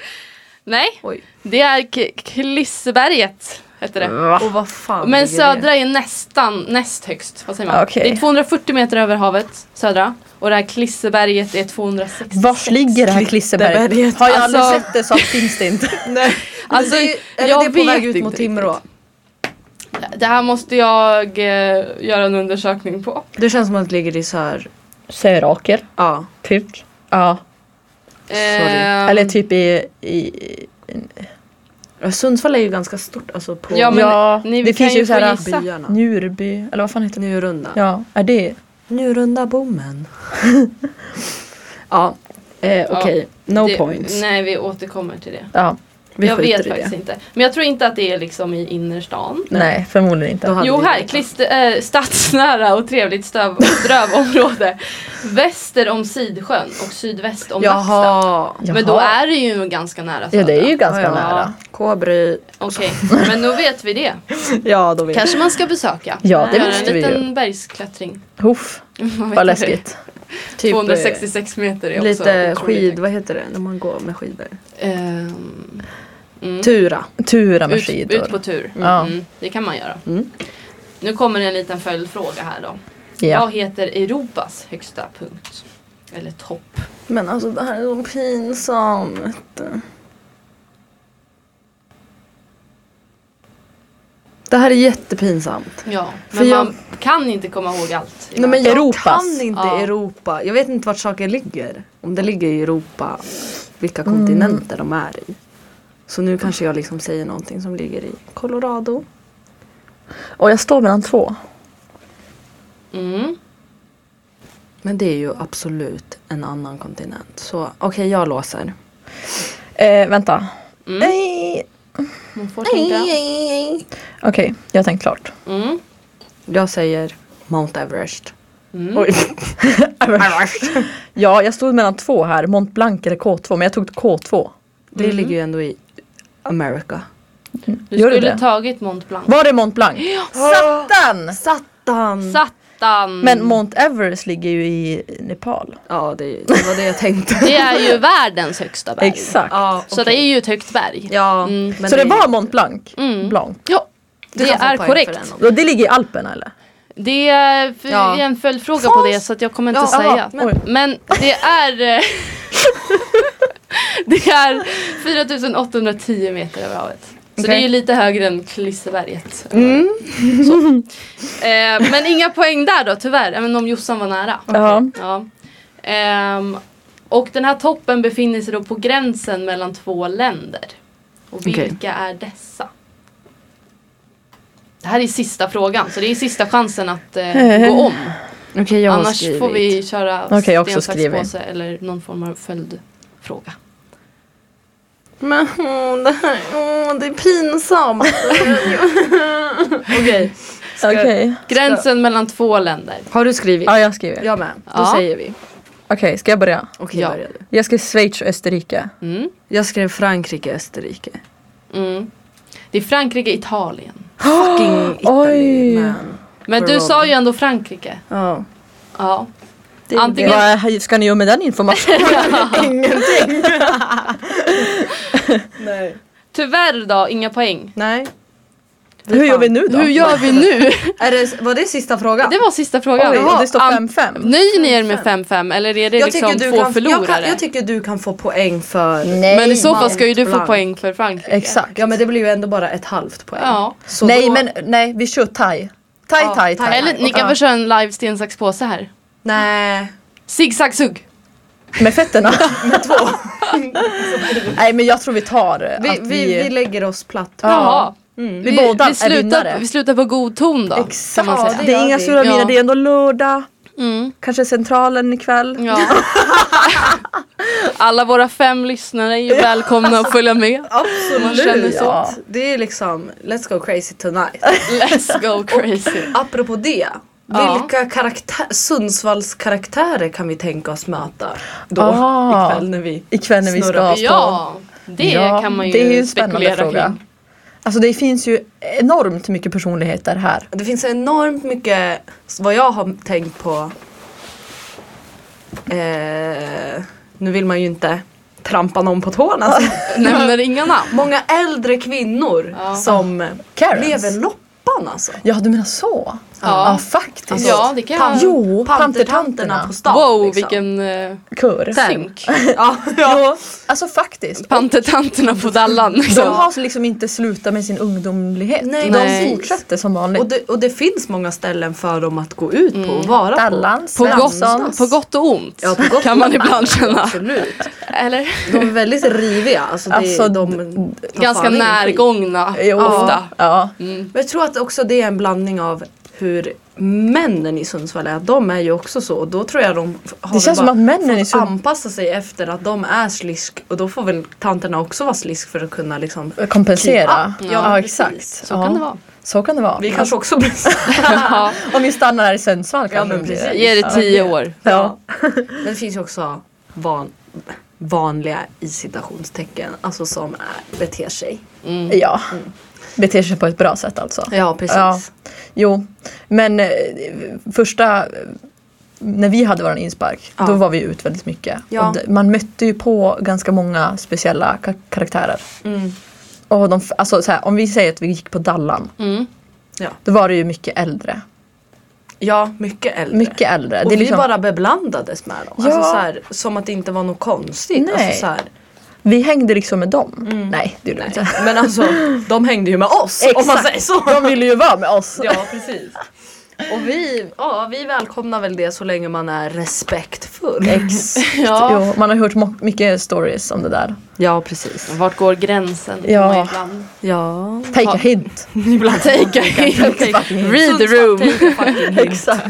[SPEAKER 2] Nej,
[SPEAKER 4] Oj.
[SPEAKER 2] det är K- Klisseberget. Heter det.
[SPEAKER 3] Va?
[SPEAKER 4] Och vad fan
[SPEAKER 2] Men
[SPEAKER 4] ligger det?
[SPEAKER 2] södra är nästan näst högst. Vad säger man?
[SPEAKER 3] Okej.
[SPEAKER 2] Det är 240 meter över havet, södra. Och det här Klisseberget är 260.
[SPEAKER 3] Vars ligger det här Klisseberget?
[SPEAKER 4] Klitteberget.
[SPEAKER 3] Har jag
[SPEAKER 2] Alltså-
[SPEAKER 3] aldrig sett det så finns det inte.
[SPEAKER 4] Nej.
[SPEAKER 2] Alltså,
[SPEAKER 4] Eller det, eller
[SPEAKER 2] jag
[SPEAKER 4] det är på
[SPEAKER 2] vet
[SPEAKER 4] väg ut
[SPEAKER 2] inte
[SPEAKER 4] mot Timrå.
[SPEAKER 2] riktigt. Det här måste jag eh, göra en undersökning på.
[SPEAKER 4] Det känns som att det ligger i sör...
[SPEAKER 3] Söraker,
[SPEAKER 4] Ja.
[SPEAKER 3] typ. Ja.
[SPEAKER 2] Ehm,
[SPEAKER 3] Eller typ i... i
[SPEAKER 4] Sundsvall är ju ganska stort. Alltså på
[SPEAKER 2] Ja, men
[SPEAKER 3] ja,
[SPEAKER 2] ni
[SPEAKER 3] det
[SPEAKER 2] kan
[SPEAKER 3] finns
[SPEAKER 2] ju
[SPEAKER 3] ju så här
[SPEAKER 2] få gissa.
[SPEAKER 4] byarna.
[SPEAKER 3] Njurby, eller vad fan heter det?
[SPEAKER 4] Njurunda.
[SPEAKER 3] Ja, är det?
[SPEAKER 4] Njurunda bommen. ja. Eh, Okej, no
[SPEAKER 2] det,
[SPEAKER 4] points.
[SPEAKER 2] Nej, vi återkommer till det.
[SPEAKER 3] Ja.
[SPEAKER 4] Vi
[SPEAKER 2] jag
[SPEAKER 4] skiter
[SPEAKER 2] vet
[SPEAKER 4] i det.
[SPEAKER 2] faktiskt inte. Men jag tror inte att det är liksom i innerstan.
[SPEAKER 3] Nej, förmodligen
[SPEAKER 4] Då
[SPEAKER 3] inte.
[SPEAKER 4] hade
[SPEAKER 2] Jo
[SPEAKER 4] vi
[SPEAKER 2] här,
[SPEAKER 4] vetat.
[SPEAKER 2] klister, eh, stadsnära och trevligt stöv, strövområde. Väster om Sidsjön och sydväst om Jaha.
[SPEAKER 4] Jaha.
[SPEAKER 2] Men då
[SPEAKER 3] Jaha.
[SPEAKER 2] är det ju ganska nära
[SPEAKER 3] Ja,
[SPEAKER 2] södra.
[SPEAKER 3] det är ju ganska
[SPEAKER 4] Ja, ja.
[SPEAKER 3] nära.
[SPEAKER 4] Kåbry.
[SPEAKER 2] Okej, men då vet vi det.
[SPEAKER 4] Ja, då vet
[SPEAKER 2] Kanske man ska besöka.
[SPEAKER 3] Ja, det
[SPEAKER 2] Göra
[SPEAKER 3] måste
[SPEAKER 2] en
[SPEAKER 3] vi
[SPEAKER 2] liten
[SPEAKER 3] ju.
[SPEAKER 2] bergsklättring. *laughs*
[SPEAKER 3] Huff,
[SPEAKER 2] Man vet
[SPEAKER 3] vad
[SPEAKER 2] aldrig.
[SPEAKER 3] läskigt.
[SPEAKER 4] Typ, eh,
[SPEAKER 2] 266 meter är också
[SPEAKER 4] Lite
[SPEAKER 2] otroligt
[SPEAKER 4] skid,
[SPEAKER 2] högt.
[SPEAKER 4] vad heter det när man går med skidor?
[SPEAKER 2] Ehm, mm.
[SPEAKER 4] Tura.
[SPEAKER 3] Tura med
[SPEAKER 2] ut,
[SPEAKER 3] skidor.
[SPEAKER 2] ut på tur.
[SPEAKER 3] Ja.
[SPEAKER 2] Mm, det kan man göra.
[SPEAKER 4] Mm.
[SPEAKER 2] Nu kommer en liten följdfråga här då.
[SPEAKER 3] ja.
[SPEAKER 2] Vad heter Europas högsta punkt? Eller topp?
[SPEAKER 4] Men alltså det här är så pinsamt. Det här är jättepinsamt.
[SPEAKER 2] Ja,
[SPEAKER 4] För
[SPEAKER 2] men
[SPEAKER 4] jag-
[SPEAKER 2] man kan inte komma ihåg allt. i
[SPEAKER 4] Nej, men jag
[SPEAKER 3] Europas.
[SPEAKER 4] kan inte
[SPEAKER 2] Ja.
[SPEAKER 4] Europa. Jag vet inte vart saker ligger. Om det ligger i Europa, vilka kontinenter de är i. Så nu kanske jag liksom säger någonting som ligger i Colorado.
[SPEAKER 3] Och jag står mellan två.
[SPEAKER 2] världen. Mm.
[SPEAKER 4] Men det är ju absolut en annan kontinent. Så okej, jag låser.
[SPEAKER 3] Eh, vänta.
[SPEAKER 2] Mm.
[SPEAKER 3] Nej.
[SPEAKER 2] Man får tänka.
[SPEAKER 3] Okej, jag har
[SPEAKER 2] *laughs*
[SPEAKER 3] tänkt klart.
[SPEAKER 2] Mm.
[SPEAKER 4] Jag säger Mount Everest.
[SPEAKER 2] Mm.
[SPEAKER 3] Oj. ja, jag stod mellan två här. Mont Blanc eller K2, men jag tog K2.
[SPEAKER 4] *laughs* Det
[SPEAKER 2] Mm.
[SPEAKER 4] ligger ju ändå i America.
[SPEAKER 2] Du
[SPEAKER 3] Gör du
[SPEAKER 2] skulle
[SPEAKER 3] det?
[SPEAKER 2] tagit Mont Blanc.
[SPEAKER 3] Var det Mont Blanc?
[SPEAKER 2] Mm.
[SPEAKER 3] Satan!
[SPEAKER 4] Satan!
[SPEAKER 2] Satan!
[SPEAKER 3] Men Mount Everest ligger ju i Nepal.
[SPEAKER 4] ja, det, det var det jag tänkte.
[SPEAKER 2] *laughs* Det är ju världens högsta berg.
[SPEAKER 3] Exakt.
[SPEAKER 4] ja,
[SPEAKER 2] Så det är ju ett högt berg.
[SPEAKER 4] Ja,
[SPEAKER 2] Mm.
[SPEAKER 4] men
[SPEAKER 3] Så det var Mont Blanc?
[SPEAKER 2] Mm.
[SPEAKER 3] Blanc.
[SPEAKER 2] Ja,
[SPEAKER 4] Du
[SPEAKER 2] det
[SPEAKER 4] kan få
[SPEAKER 2] är
[SPEAKER 4] poäng för
[SPEAKER 2] korrekt.
[SPEAKER 4] den om-
[SPEAKER 3] Och det ligger i Alperna eller?
[SPEAKER 2] Det är för-
[SPEAKER 4] Ja.
[SPEAKER 2] en följdfråga på det så att jag kommer inte
[SPEAKER 4] Ja,
[SPEAKER 2] säga.
[SPEAKER 3] men-
[SPEAKER 2] Men, det är... eh, *laughs* det är 4810 meter över havet. Så
[SPEAKER 3] Okej.
[SPEAKER 2] det är ju lite högre än Klisseberget.
[SPEAKER 3] Mm.
[SPEAKER 2] Eh, men inga poäng där då tyvärr, även om Jossan var nära.
[SPEAKER 3] Ja.
[SPEAKER 2] Ja. Ehm, och den här toppen befinner sig då på gränsen mellan två länder. Och vilka
[SPEAKER 4] Okej.
[SPEAKER 2] är dessa? Det här är sista frågan, så det är sista chansen att eh, gå om.
[SPEAKER 4] Okej jag har
[SPEAKER 2] Annars
[SPEAKER 4] skrivit.
[SPEAKER 2] får vi köra
[SPEAKER 3] Okej, jag har också
[SPEAKER 2] sten, sax, påse eller någon form av följdfråga.
[SPEAKER 4] Men åh, det här åh, det
[SPEAKER 2] *laughs*
[SPEAKER 4] är pinsamt.
[SPEAKER 2] Okej.
[SPEAKER 3] Okej.
[SPEAKER 2] Gränsen mellan två länder.
[SPEAKER 4] har du skrivit?
[SPEAKER 3] Ja, jag skriver.
[SPEAKER 4] Jag med. Då
[SPEAKER 2] Ja.
[SPEAKER 4] säger vi.
[SPEAKER 3] Okej, ska jag börja?
[SPEAKER 4] Okej
[SPEAKER 2] Ja.
[SPEAKER 4] börja du.
[SPEAKER 3] Jag skrev Schweiz och Österrike.
[SPEAKER 2] Mm.
[SPEAKER 4] Jag skrev
[SPEAKER 2] *gasps*
[SPEAKER 4] Frankrike, Österrike.
[SPEAKER 2] Mm. Det är Frankrike, Italien.
[SPEAKER 4] Fucking Italy
[SPEAKER 3] Oj.
[SPEAKER 4] man.
[SPEAKER 2] Men du
[SPEAKER 4] Corona.
[SPEAKER 2] sa ju ändå Frankrike.
[SPEAKER 4] Ja.
[SPEAKER 2] Ja.
[SPEAKER 3] Det är
[SPEAKER 2] Antingen-
[SPEAKER 3] Vad ska ni göra med den informationen? Ingenting.
[SPEAKER 4] Nej.
[SPEAKER 2] Tyvärr då, inga poäng.
[SPEAKER 4] Nej.
[SPEAKER 3] Hur gör vi nu då?
[SPEAKER 2] Hur gör vi *laughs* nu?
[SPEAKER 4] Är det, var det sista frågan?
[SPEAKER 2] Det var sista frågan.
[SPEAKER 3] Oj, och det står
[SPEAKER 2] Jaha,
[SPEAKER 3] 5-5.
[SPEAKER 2] Nöjer ni er med 5-5 eller är det liksom två
[SPEAKER 4] kan, jag,
[SPEAKER 2] förlorare?
[SPEAKER 4] kan, jag tycker du kan få poäng för...
[SPEAKER 3] Nej.
[SPEAKER 2] men i så fall ska ju du få
[SPEAKER 4] blank.
[SPEAKER 2] poäng för Frankrike.
[SPEAKER 3] Exakt.
[SPEAKER 4] Ja men det blir ju ändå bara ett halvt poäng.
[SPEAKER 2] Ja.
[SPEAKER 4] Så
[SPEAKER 3] nej
[SPEAKER 4] då-
[SPEAKER 3] men nej, vi kör thai. Thai,
[SPEAKER 4] Ja,
[SPEAKER 3] thai, thai.
[SPEAKER 4] thai.
[SPEAKER 2] Eller ni kan
[SPEAKER 3] Ja.
[SPEAKER 2] väl köra en live sten, sax, påse här?
[SPEAKER 4] Nej.
[SPEAKER 2] Zig, zag, zugg.
[SPEAKER 3] Med fötterna. med två. nej men jag tror vi tar
[SPEAKER 4] Vi,
[SPEAKER 3] att
[SPEAKER 4] vi, vi lägger oss platt.
[SPEAKER 3] Ja.
[SPEAKER 2] Jaha.
[SPEAKER 4] Mm.
[SPEAKER 3] Vi båda är
[SPEAKER 2] vi slutar,
[SPEAKER 3] vinnare.
[SPEAKER 2] vi slutar på god ton då. Kan
[SPEAKER 3] Exakt.
[SPEAKER 2] man säga.
[SPEAKER 4] Ja,
[SPEAKER 3] det är
[SPEAKER 4] gör
[SPEAKER 3] inga
[SPEAKER 4] vi.
[SPEAKER 3] stora
[SPEAKER 2] Ja.
[SPEAKER 3] miner, det är ändå lördag.
[SPEAKER 2] Mm,
[SPEAKER 3] Kanske centralen ikväll.
[SPEAKER 2] ja. *laughs* Alla våra fem lyssnare är ju välkomna att följa med.
[SPEAKER 4] Absolut.
[SPEAKER 2] Man känner så.
[SPEAKER 3] Ja.
[SPEAKER 4] Det är liksom, let's go crazy *laughs* tonight.
[SPEAKER 2] Let's go crazy.
[SPEAKER 4] Apropå det.
[SPEAKER 2] Ja.
[SPEAKER 4] Vilka karaktär, Sundsvalls karaktärer kan vi tänka oss möta då
[SPEAKER 3] Ah.
[SPEAKER 4] ikväll när vi...
[SPEAKER 3] Ikväll när vi
[SPEAKER 4] Snurra
[SPEAKER 3] ska
[SPEAKER 4] på.
[SPEAKER 3] stå.
[SPEAKER 2] Ja, det
[SPEAKER 3] Ja,
[SPEAKER 2] kan man ju,
[SPEAKER 3] det är ju en spännande
[SPEAKER 2] spekulera
[SPEAKER 3] fråga.
[SPEAKER 2] kring.
[SPEAKER 3] Alltså det finns ju enormt mycket personligheter här.
[SPEAKER 4] Det finns enormt mycket vad jag har tänkt på. Eh, nu vill man ju inte trampa någon på tårna. Alltså.
[SPEAKER 2] Nämner inga namn.
[SPEAKER 4] *laughs* Många äldre kvinnor
[SPEAKER 2] Ja.
[SPEAKER 4] som
[SPEAKER 3] Karens.
[SPEAKER 4] lever loppan alltså.
[SPEAKER 3] Ja du menar så?
[SPEAKER 2] Ja.
[SPEAKER 3] faktiskt.
[SPEAKER 4] Alltså,
[SPEAKER 2] Ja, det kan jag-
[SPEAKER 3] Jo,
[SPEAKER 4] Pantertanterna
[SPEAKER 3] pantertanterna.
[SPEAKER 4] på stan.
[SPEAKER 2] wow,
[SPEAKER 4] liksom.
[SPEAKER 2] vilken eh,
[SPEAKER 3] Kör.
[SPEAKER 2] synk.
[SPEAKER 4] Ja, ja.
[SPEAKER 3] Jo, alltså faktiskt.
[SPEAKER 2] Pantertanterna på Dallan.
[SPEAKER 3] De
[SPEAKER 2] Liksom.
[SPEAKER 3] har liksom inte slutat med sin ungdomlighet.
[SPEAKER 4] Nej,
[SPEAKER 3] de
[SPEAKER 2] nej.
[SPEAKER 3] fortsätter som vanligt.
[SPEAKER 4] Och, det, och det finns många ställen för dem att gå ut
[SPEAKER 2] Mm.
[SPEAKER 4] på och vara
[SPEAKER 3] Dallan,
[SPEAKER 2] På gott,
[SPEAKER 3] Svenssons.
[SPEAKER 2] på gott och ont
[SPEAKER 4] Ja, på gott
[SPEAKER 2] kan
[SPEAKER 4] och
[SPEAKER 2] man
[SPEAKER 4] ont.
[SPEAKER 2] ibland
[SPEAKER 4] på.
[SPEAKER 2] känna.
[SPEAKER 4] Absolut.
[SPEAKER 2] Eller?
[SPEAKER 4] De är väldigt riviga. Alltså, det,
[SPEAKER 3] Alltså,
[SPEAKER 4] de tar
[SPEAKER 2] Ganska
[SPEAKER 4] fan ingen skit.
[SPEAKER 2] närgångna
[SPEAKER 3] Jo,
[SPEAKER 2] ofta.
[SPEAKER 3] Ja.
[SPEAKER 2] Mm.
[SPEAKER 4] Men jag tror att också det är en blandning av hur männen i Sundsvall är. De är ju också så och då tror jag de f- har
[SPEAKER 3] Det känns
[SPEAKER 4] väl
[SPEAKER 3] som
[SPEAKER 4] bara
[SPEAKER 3] att männen i
[SPEAKER 4] fått
[SPEAKER 3] Sundsvall
[SPEAKER 4] anpassa sig efter att de är slisk och då får väl tanterna också vara slisk för att kunna liksom
[SPEAKER 3] kompensera.
[SPEAKER 4] Ja,
[SPEAKER 3] Ja,
[SPEAKER 4] men precis.
[SPEAKER 3] exakt.
[SPEAKER 2] Så
[SPEAKER 3] ja.
[SPEAKER 2] kan det vara.
[SPEAKER 3] Så kan det vara.
[SPEAKER 4] Vi kanske också blir
[SPEAKER 2] Ja,
[SPEAKER 3] Om vi stannar här i Sundsvall
[SPEAKER 4] Ja,
[SPEAKER 3] kanske
[SPEAKER 4] men
[SPEAKER 3] det blir
[SPEAKER 4] precis.
[SPEAKER 2] Ge det tio år.
[SPEAKER 3] Ja.
[SPEAKER 4] *laughs* Men det finns ju också van, vanliga i citationstecken, alltså som är, beter sig.
[SPEAKER 2] Mm.
[SPEAKER 3] ja. Beter sig på ett bra sätt alltså.
[SPEAKER 4] Ja precis.
[SPEAKER 3] Ja. Jo, men eh, första eh, när vi hade vår inspark,
[SPEAKER 4] Ja.
[SPEAKER 3] då var vi ut väldigt mycket.
[SPEAKER 4] Ja.
[SPEAKER 3] Och d- man mötte ju på ganska många speciella ka- karaktärer.
[SPEAKER 4] Mm.
[SPEAKER 3] Och de, f- alltså, så här, om vi säger att vi gick på Dallan,
[SPEAKER 2] Mm.
[SPEAKER 3] då var det ju mycket äldre.
[SPEAKER 4] ja mycket äldre.
[SPEAKER 3] Mycket äldre.
[SPEAKER 4] Och
[SPEAKER 3] det är
[SPEAKER 4] vi
[SPEAKER 3] liksom,
[SPEAKER 4] bara beblandades med dem. Alltså
[SPEAKER 3] Ja.
[SPEAKER 4] så här, som att det inte var något konstigt. Alltså,
[SPEAKER 3] Nej.
[SPEAKER 4] så här,
[SPEAKER 3] vi hängde liksom med dem. Nej, det gjorde vi inte.
[SPEAKER 4] *laughs* Men alltså de hängde ju med oss om man
[SPEAKER 3] Exakt.
[SPEAKER 4] säger Mm. så.
[SPEAKER 3] De ville ju vara med oss.
[SPEAKER 4] Ja precis. Och vi, ja, vi välkomnar väl det så länge man är respektfull. *laughs*
[SPEAKER 3] Exakt.
[SPEAKER 2] Ja.
[SPEAKER 3] Jo, man har hört mo- mycket stories om det där.
[SPEAKER 4] Ja precis.
[SPEAKER 2] Vart går gränsen?
[SPEAKER 3] Ja.
[SPEAKER 2] Kan man ibland-
[SPEAKER 4] Ja.
[SPEAKER 3] Take
[SPEAKER 2] Ja.
[SPEAKER 3] a
[SPEAKER 4] *laughs*
[SPEAKER 3] hint.
[SPEAKER 2] Ibland *laughs* take a hint. Read the room.
[SPEAKER 3] Exakt.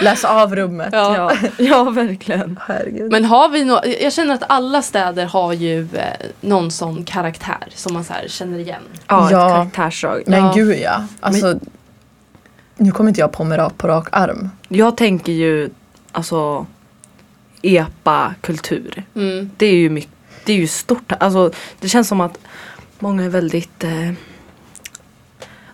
[SPEAKER 3] Läs av rummet.
[SPEAKER 2] Ja.
[SPEAKER 4] Ja. *laughs* ja verkligen.
[SPEAKER 3] Herregud.
[SPEAKER 2] Men har vi nå- jag känner att alla städer har ju eh, någon sån karaktär som man så här känner igen.
[SPEAKER 4] Ja,
[SPEAKER 3] Ja.
[SPEAKER 4] ett karaktärsdrag.
[SPEAKER 3] Men
[SPEAKER 2] Ja.
[SPEAKER 3] gud ja. Alltså, Nu kommer inte jag på mig ra- på rak arm.
[SPEAKER 4] Jag tänker ju alltså epa-kultur.
[SPEAKER 2] Mm.
[SPEAKER 4] Det är ju mycket, det är ju stort. Alltså det känns som att många är väldigt eh,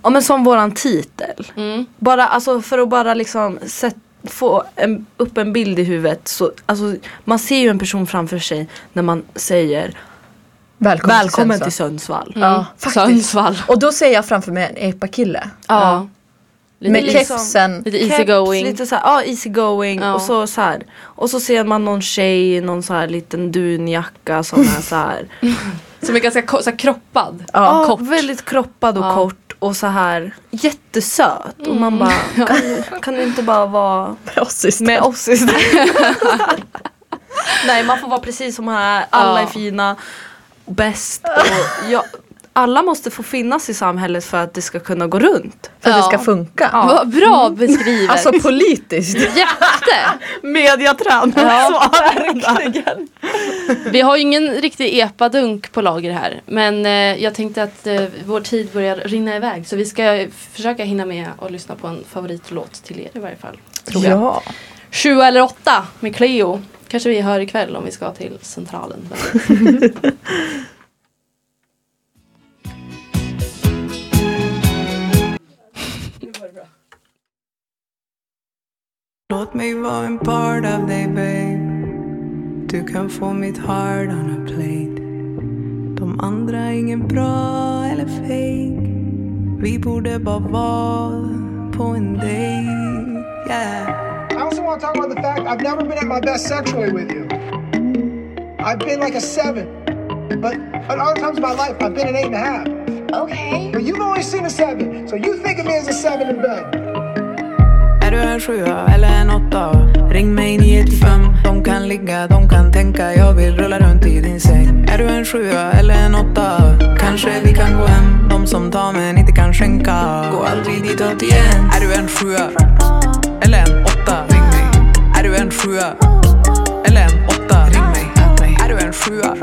[SPEAKER 4] Ja men som våran titel.
[SPEAKER 2] Mm.
[SPEAKER 4] Bara alltså för att bara liksom sätt, få en, upp en bild i huvudet så alltså man ser ju en person framför sig när man säger
[SPEAKER 3] Välkommen,
[SPEAKER 4] välkommen till
[SPEAKER 3] Sundsvall.
[SPEAKER 4] Sundsvall.
[SPEAKER 2] Mm.
[SPEAKER 3] Ja, faktiskt.
[SPEAKER 2] Sundsvall.
[SPEAKER 3] Och då ser jag framför mig en epakille.
[SPEAKER 4] Ja.
[SPEAKER 2] Lite,
[SPEAKER 3] med
[SPEAKER 2] lite,
[SPEAKER 4] liksom-
[SPEAKER 3] kepsen.
[SPEAKER 2] lite easy going.
[SPEAKER 4] Keps, lite så här, ja easy going
[SPEAKER 2] Ja.
[SPEAKER 4] och så, så här.
[SPEAKER 2] *laughs*
[SPEAKER 4] Och så ser man någon tjej i någon så här liten dunjacka som är så här
[SPEAKER 2] Som är ganska ko- så här, kroppad.
[SPEAKER 4] Ja,
[SPEAKER 2] kort.
[SPEAKER 4] väldigt kroppad och
[SPEAKER 2] Ja. Mm.
[SPEAKER 4] kort och så här jättesöt. Och
[SPEAKER 2] *laughs*
[SPEAKER 4] man bara, kan, kan du inte bara vara
[SPEAKER 3] Klassiskt.
[SPEAKER 4] med oss istället? *laughs* Nej, man får vara precis som man är. Alla är
[SPEAKER 2] Ja.
[SPEAKER 4] fina, bäst. Och jag, alla måste få finnas i samhället för att det ska kunna gå runt.
[SPEAKER 3] För att det ska
[SPEAKER 2] Ja. Mm.
[SPEAKER 3] funka.
[SPEAKER 2] Vad bra beskrivet.
[SPEAKER 3] Alltså
[SPEAKER 2] *laughs*
[SPEAKER 3] politiskt.
[SPEAKER 2] Jätte!
[SPEAKER 4] Mediatrend.
[SPEAKER 2] Ja.
[SPEAKER 4] Så är det där.
[SPEAKER 2] Vi har ju ingen riktig epadunk på lager här. Men eh, jag tänkte att eh, vår tid börjar rinna iväg. Så vi ska försöka hinna med och lyssna på en favoritlåt till er i varje fall. Tror jag.
[SPEAKER 3] Ja.
[SPEAKER 2] Sju eller åtta med Cleo. Kanske vi hör ikväll om vi ska till *laughs* Centralen.
[SPEAKER 5] Låt mig vara en part av dig babe Du kan få mitt heart on a plate De andra är ingen bra eller fake Vi borde bara vara på en dejt yeah.
[SPEAKER 6] I also want to talk about the fact I've never been at my best sexually with you. I've been like a seven, but at other times in my life, I've been an eight and a half.
[SPEAKER 7] Okay.
[SPEAKER 6] But you've only seen a seven, so you think of me as a seven in bed.
[SPEAKER 5] Är du en sjua eller en åtta? Ring mig 9 till 5 De kan ligga, de kan tänka Jag vill rulla runt i din säng Är du en sjua eller en åtta? Kanske vi kan gå hem De som tar men inte kan skänka Gå aldrig ditåt igen Är du en sjua eller en åtta? Ring mig Är du en sjua eller en åtta? Ring mig Är du en sjua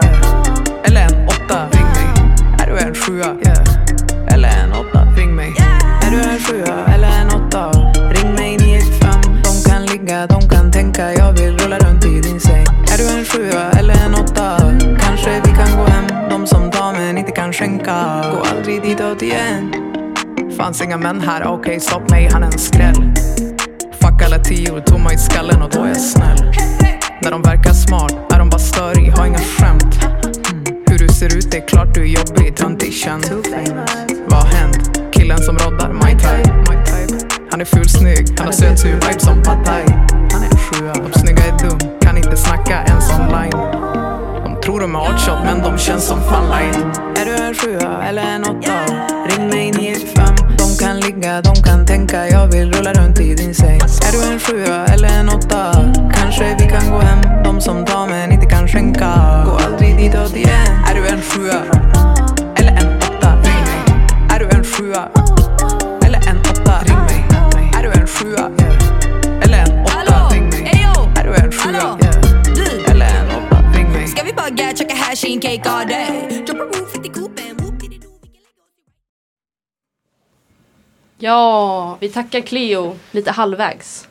[SPEAKER 5] eller en åtta? Ring mig Är du en sjua eller en åtta? Ring mig Är du en sjua eller en åtta? Ring mig 9 till 5 De kan ligga, de kan tänka Jag vill rulla runt i din säng Är du en sjua eller en åtta? Kanske vi kan gå hem De som tar men inte kan skänka Gå aldrig ditåt igen Fanns inga män här, okej stopp mig, han är en skräll Fuck alla tio, tomma i skallen och då är jag snäll När de verkar smart är de bara störig, har inga skämt mm. Hur du ser ut, det är klart du är jobbig, töntig, känd Vad har hänt? Killen som roddar, my type, my type. Han är ful, snygg, han har söt sur vibe som pad thai Han är en sjua, de snygga är dum, kan inte snacka ens online de tror de är artshot men de känns som fanline Är du en sjua eller en åtta? Ring mig 9 till 5 De kan ligga, de kan tänka Jag vill rulla runt i din säng Är du en sjua eller en åtta? Kanske vi kan gå hem De som tar men inte kan skänka Gå aldrig ditåt igen Är du en sjua eller en åtta? Ring mig Är du en sjua eller en åtta? Ring mig Är du en sjua eller en åtta? Ring mig Är du en sjua eller en åtta? Ring mig
[SPEAKER 7] Ska vi bugga, käka hash, eat cake all day? Droppa roof, 50 coupe and whoop diddy doo we can let go.
[SPEAKER 2] Ja, vi tackar Cleo lite halvvägs.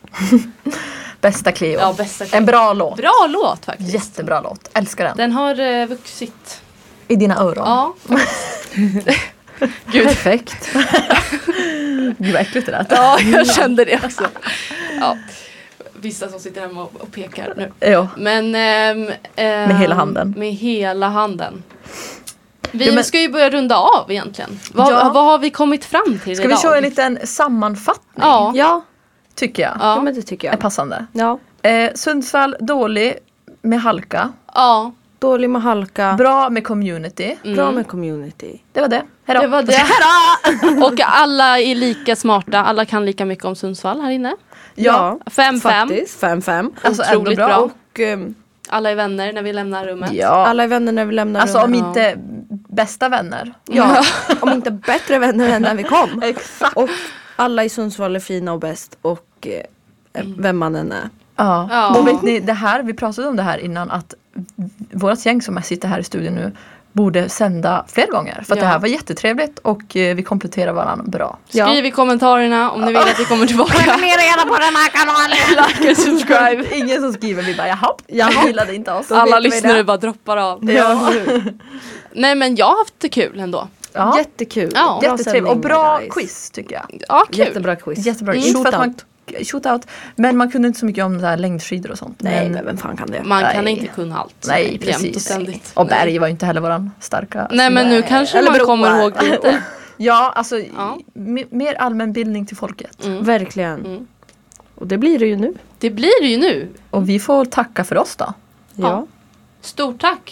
[SPEAKER 3] Bästa Cleo.
[SPEAKER 2] Ja, bästa Cleo.
[SPEAKER 3] En bra låt.
[SPEAKER 2] Bra låt faktiskt.
[SPEAKER 3] Jättebra låt. Älskar den.
[SPEAKER 2] Den har eh, vuxit.
[SPEAKER 3] I dina öron.
[SPEAKER 2] Ja,
[SPEAKER 3] Perfekt. Gud vad äckligt det lät.
[SPEAKER 2] *laughs* ja jag kände det också. *laughs* Ja. Vissa som sitter hemma och, och pekar nu.
[SPEAKER 3] Ja.
[SPEAKER 2] Men, ehm, ehm,
[SPEAKER 3] Med hela handen.
[SPEAKER 2] Med hela handen. Vi
[SPEAKER 3] Ja, men-
[SPEAKER 2] ska ju börja runda av egentligen. Vad,
[SPEAKER 3] Ja.
[SPEAKER 2] vad har vi kommit fram till
[SPEAKER 3] Ska vi
[SPEAKER 2] idag?
[SPEAKER 3] köra en liten sammanfattning?
[SPEAKER 2] Ja.
[SPEAKER 4] Ja,
[SPEAKER 3] Tycker jag.
[SPEAKER 4] ja,
[SPEAKER 2] Ja.
[SPEAKER 4] men det tycker
[SPEAKER 3] Är
[SPEAKER 4] jag.
[SPEAKER 3] passande.
[SPEAKER 4] Ja.
[SPEAKER 3] Eh, Sundsvall dålig med halka.
[SPEAKER 2] ja.
[SPEAKER 4] Dålig med halka, bra,
[SPEAKER 3] Bra med community.
[SPEAKER 4] med community.
[SPEAKER 3] Det var det. Hejdå.
[SPEAKER 2] Det var det. och alla är lika smarta. Alla kan lika mycket om Sundsvall här inne.
[SPEAKER 3] Ja.
[SPEAKER 2] Fem, fem.
[SPEAKER 4] Faktiskt. Fem, fem.
[SPEAKER 3] Alltså ändå
[SPEAKER 2] Otroligt
[SPEAKER 3] bra.
[SPEAKER 2] bra.
[SPEAKER 4] Och ehm,
[SPEAKER 2] Alla är vänner när vi lämnar rummet.
[SPEAKER 3] Ja.
[SPEAKER 4] alla är vänner när vi lämnar
[SPEAKER 3] *laughs* Alltså
[SPEAKER 4] rummet.
[SPEAKER 3] om inte bästa vänner.
[SPEAKER 4] Ja, *laughs* om inte bättre vänner än när vi kom.
[SPEAKER 3] *laughs* Exakt.
[SPEAKER 4] Och alla i Sundsvall är fina och bäst och eh, vem man än är.
[SPEAKER 3] Ja.
[SPEAKER 2] Ja.
[SPEAKER 3] Och vet ni, det här, vi pratade om det här innan att vårt gäng som sitter här i studion nu borde sända fler gånger. För att det
[SPEAKER 2] Ja.
[SPEAKER 3] här var jättetrevligt och eh, vi kompletterar varandra bra.
[SPEAKER 2] *laughs*
[SPEAKER 4] Ja.
[SPEAKER 2] Skriv i kommentarerna om ni vill att vi kommer tillbaka. Prenumerera på den här kanalen! Like and subscribe.
[SPEAKER 3] Ingen som skriver, vi bara jaha,
[SPEAKER 4] Jaha.
[SPEAKER 3] jag gillade inte oss.
[SPEAKER 2] Alla
[SPEAKER 4] vet vi
[SPEAKER 2] lyssnare
[SPEAKER 4] det.
[SPEAKER 2] bara droppar av.
[SPEAKER 4] Ja.
[SPEAKER 2] Nej men jag har haft det kul ändå.
[SPEAKER 3] Ja.
[SPEAKER 4] Jättekul.
[SPEAKER 2] Ja.
[SPEAKER 4] Bra
[SPEAKER 3] Jättetrevligt
[SPEAKER 4] sändning,
[SPEAKER 3] och bra
[SPEAKER 4] guys.
[SPEAKER 3] quiz tycker jag.
[SPEAKER 2] Ja kul.
[SPEAKER 4] Jättebra quiz.
[SPEAKER 3] Jättebra
[SPEAKER 4] Mm.
[SPEAKER 3] quiz. För att man-
[SPEAKER 4] Shootout.
[SPEAKER 3] Shootout. Men man kunde inte så mycket om så här längdskidor och sånt.
[SPEAKER 4] Nej,
[SPEAKER 3] men,
[SPEAKER 4] men vem fan kan det?
[SPEAKER 2] Man kan
[SPEAKER 3] Nej.
[SPEAKER 2] inte kunna allt.
[SPEAKER 3] nej
[SPEAKER 2] jämt
[SPEAKER 3] precis.
[SPEAKER 2] och ständigt.
[SPEAKER 3] Och
[SPEAKER 2] Nej.
[SPEAKER 3] berg var ju inte heller våran starka
[SPEAKER 2] Nej men nu kanske
[SPEAKER 4] Eller
[SPEAKER 2] man
[SPEAKER 4] broar.
[SPEAKER 2] kommer ihåg lite.
[SPEAKER 3] Ja, alltså i-
[SPEAKER 2] Ja.
[SPEAKER 3] me- mer allmänbildning till folket.
[SPEAKER 4] Verkligen.
[SPEAKER 2] Mm.
[SPEAKER 4] Och det blir det ju nu.
[SPEAKER 2] Det blir det ju nu.
[SPEAKER 3] Och vi får tacka för oss då.
[SPEAKER 2] Ja. Stort tack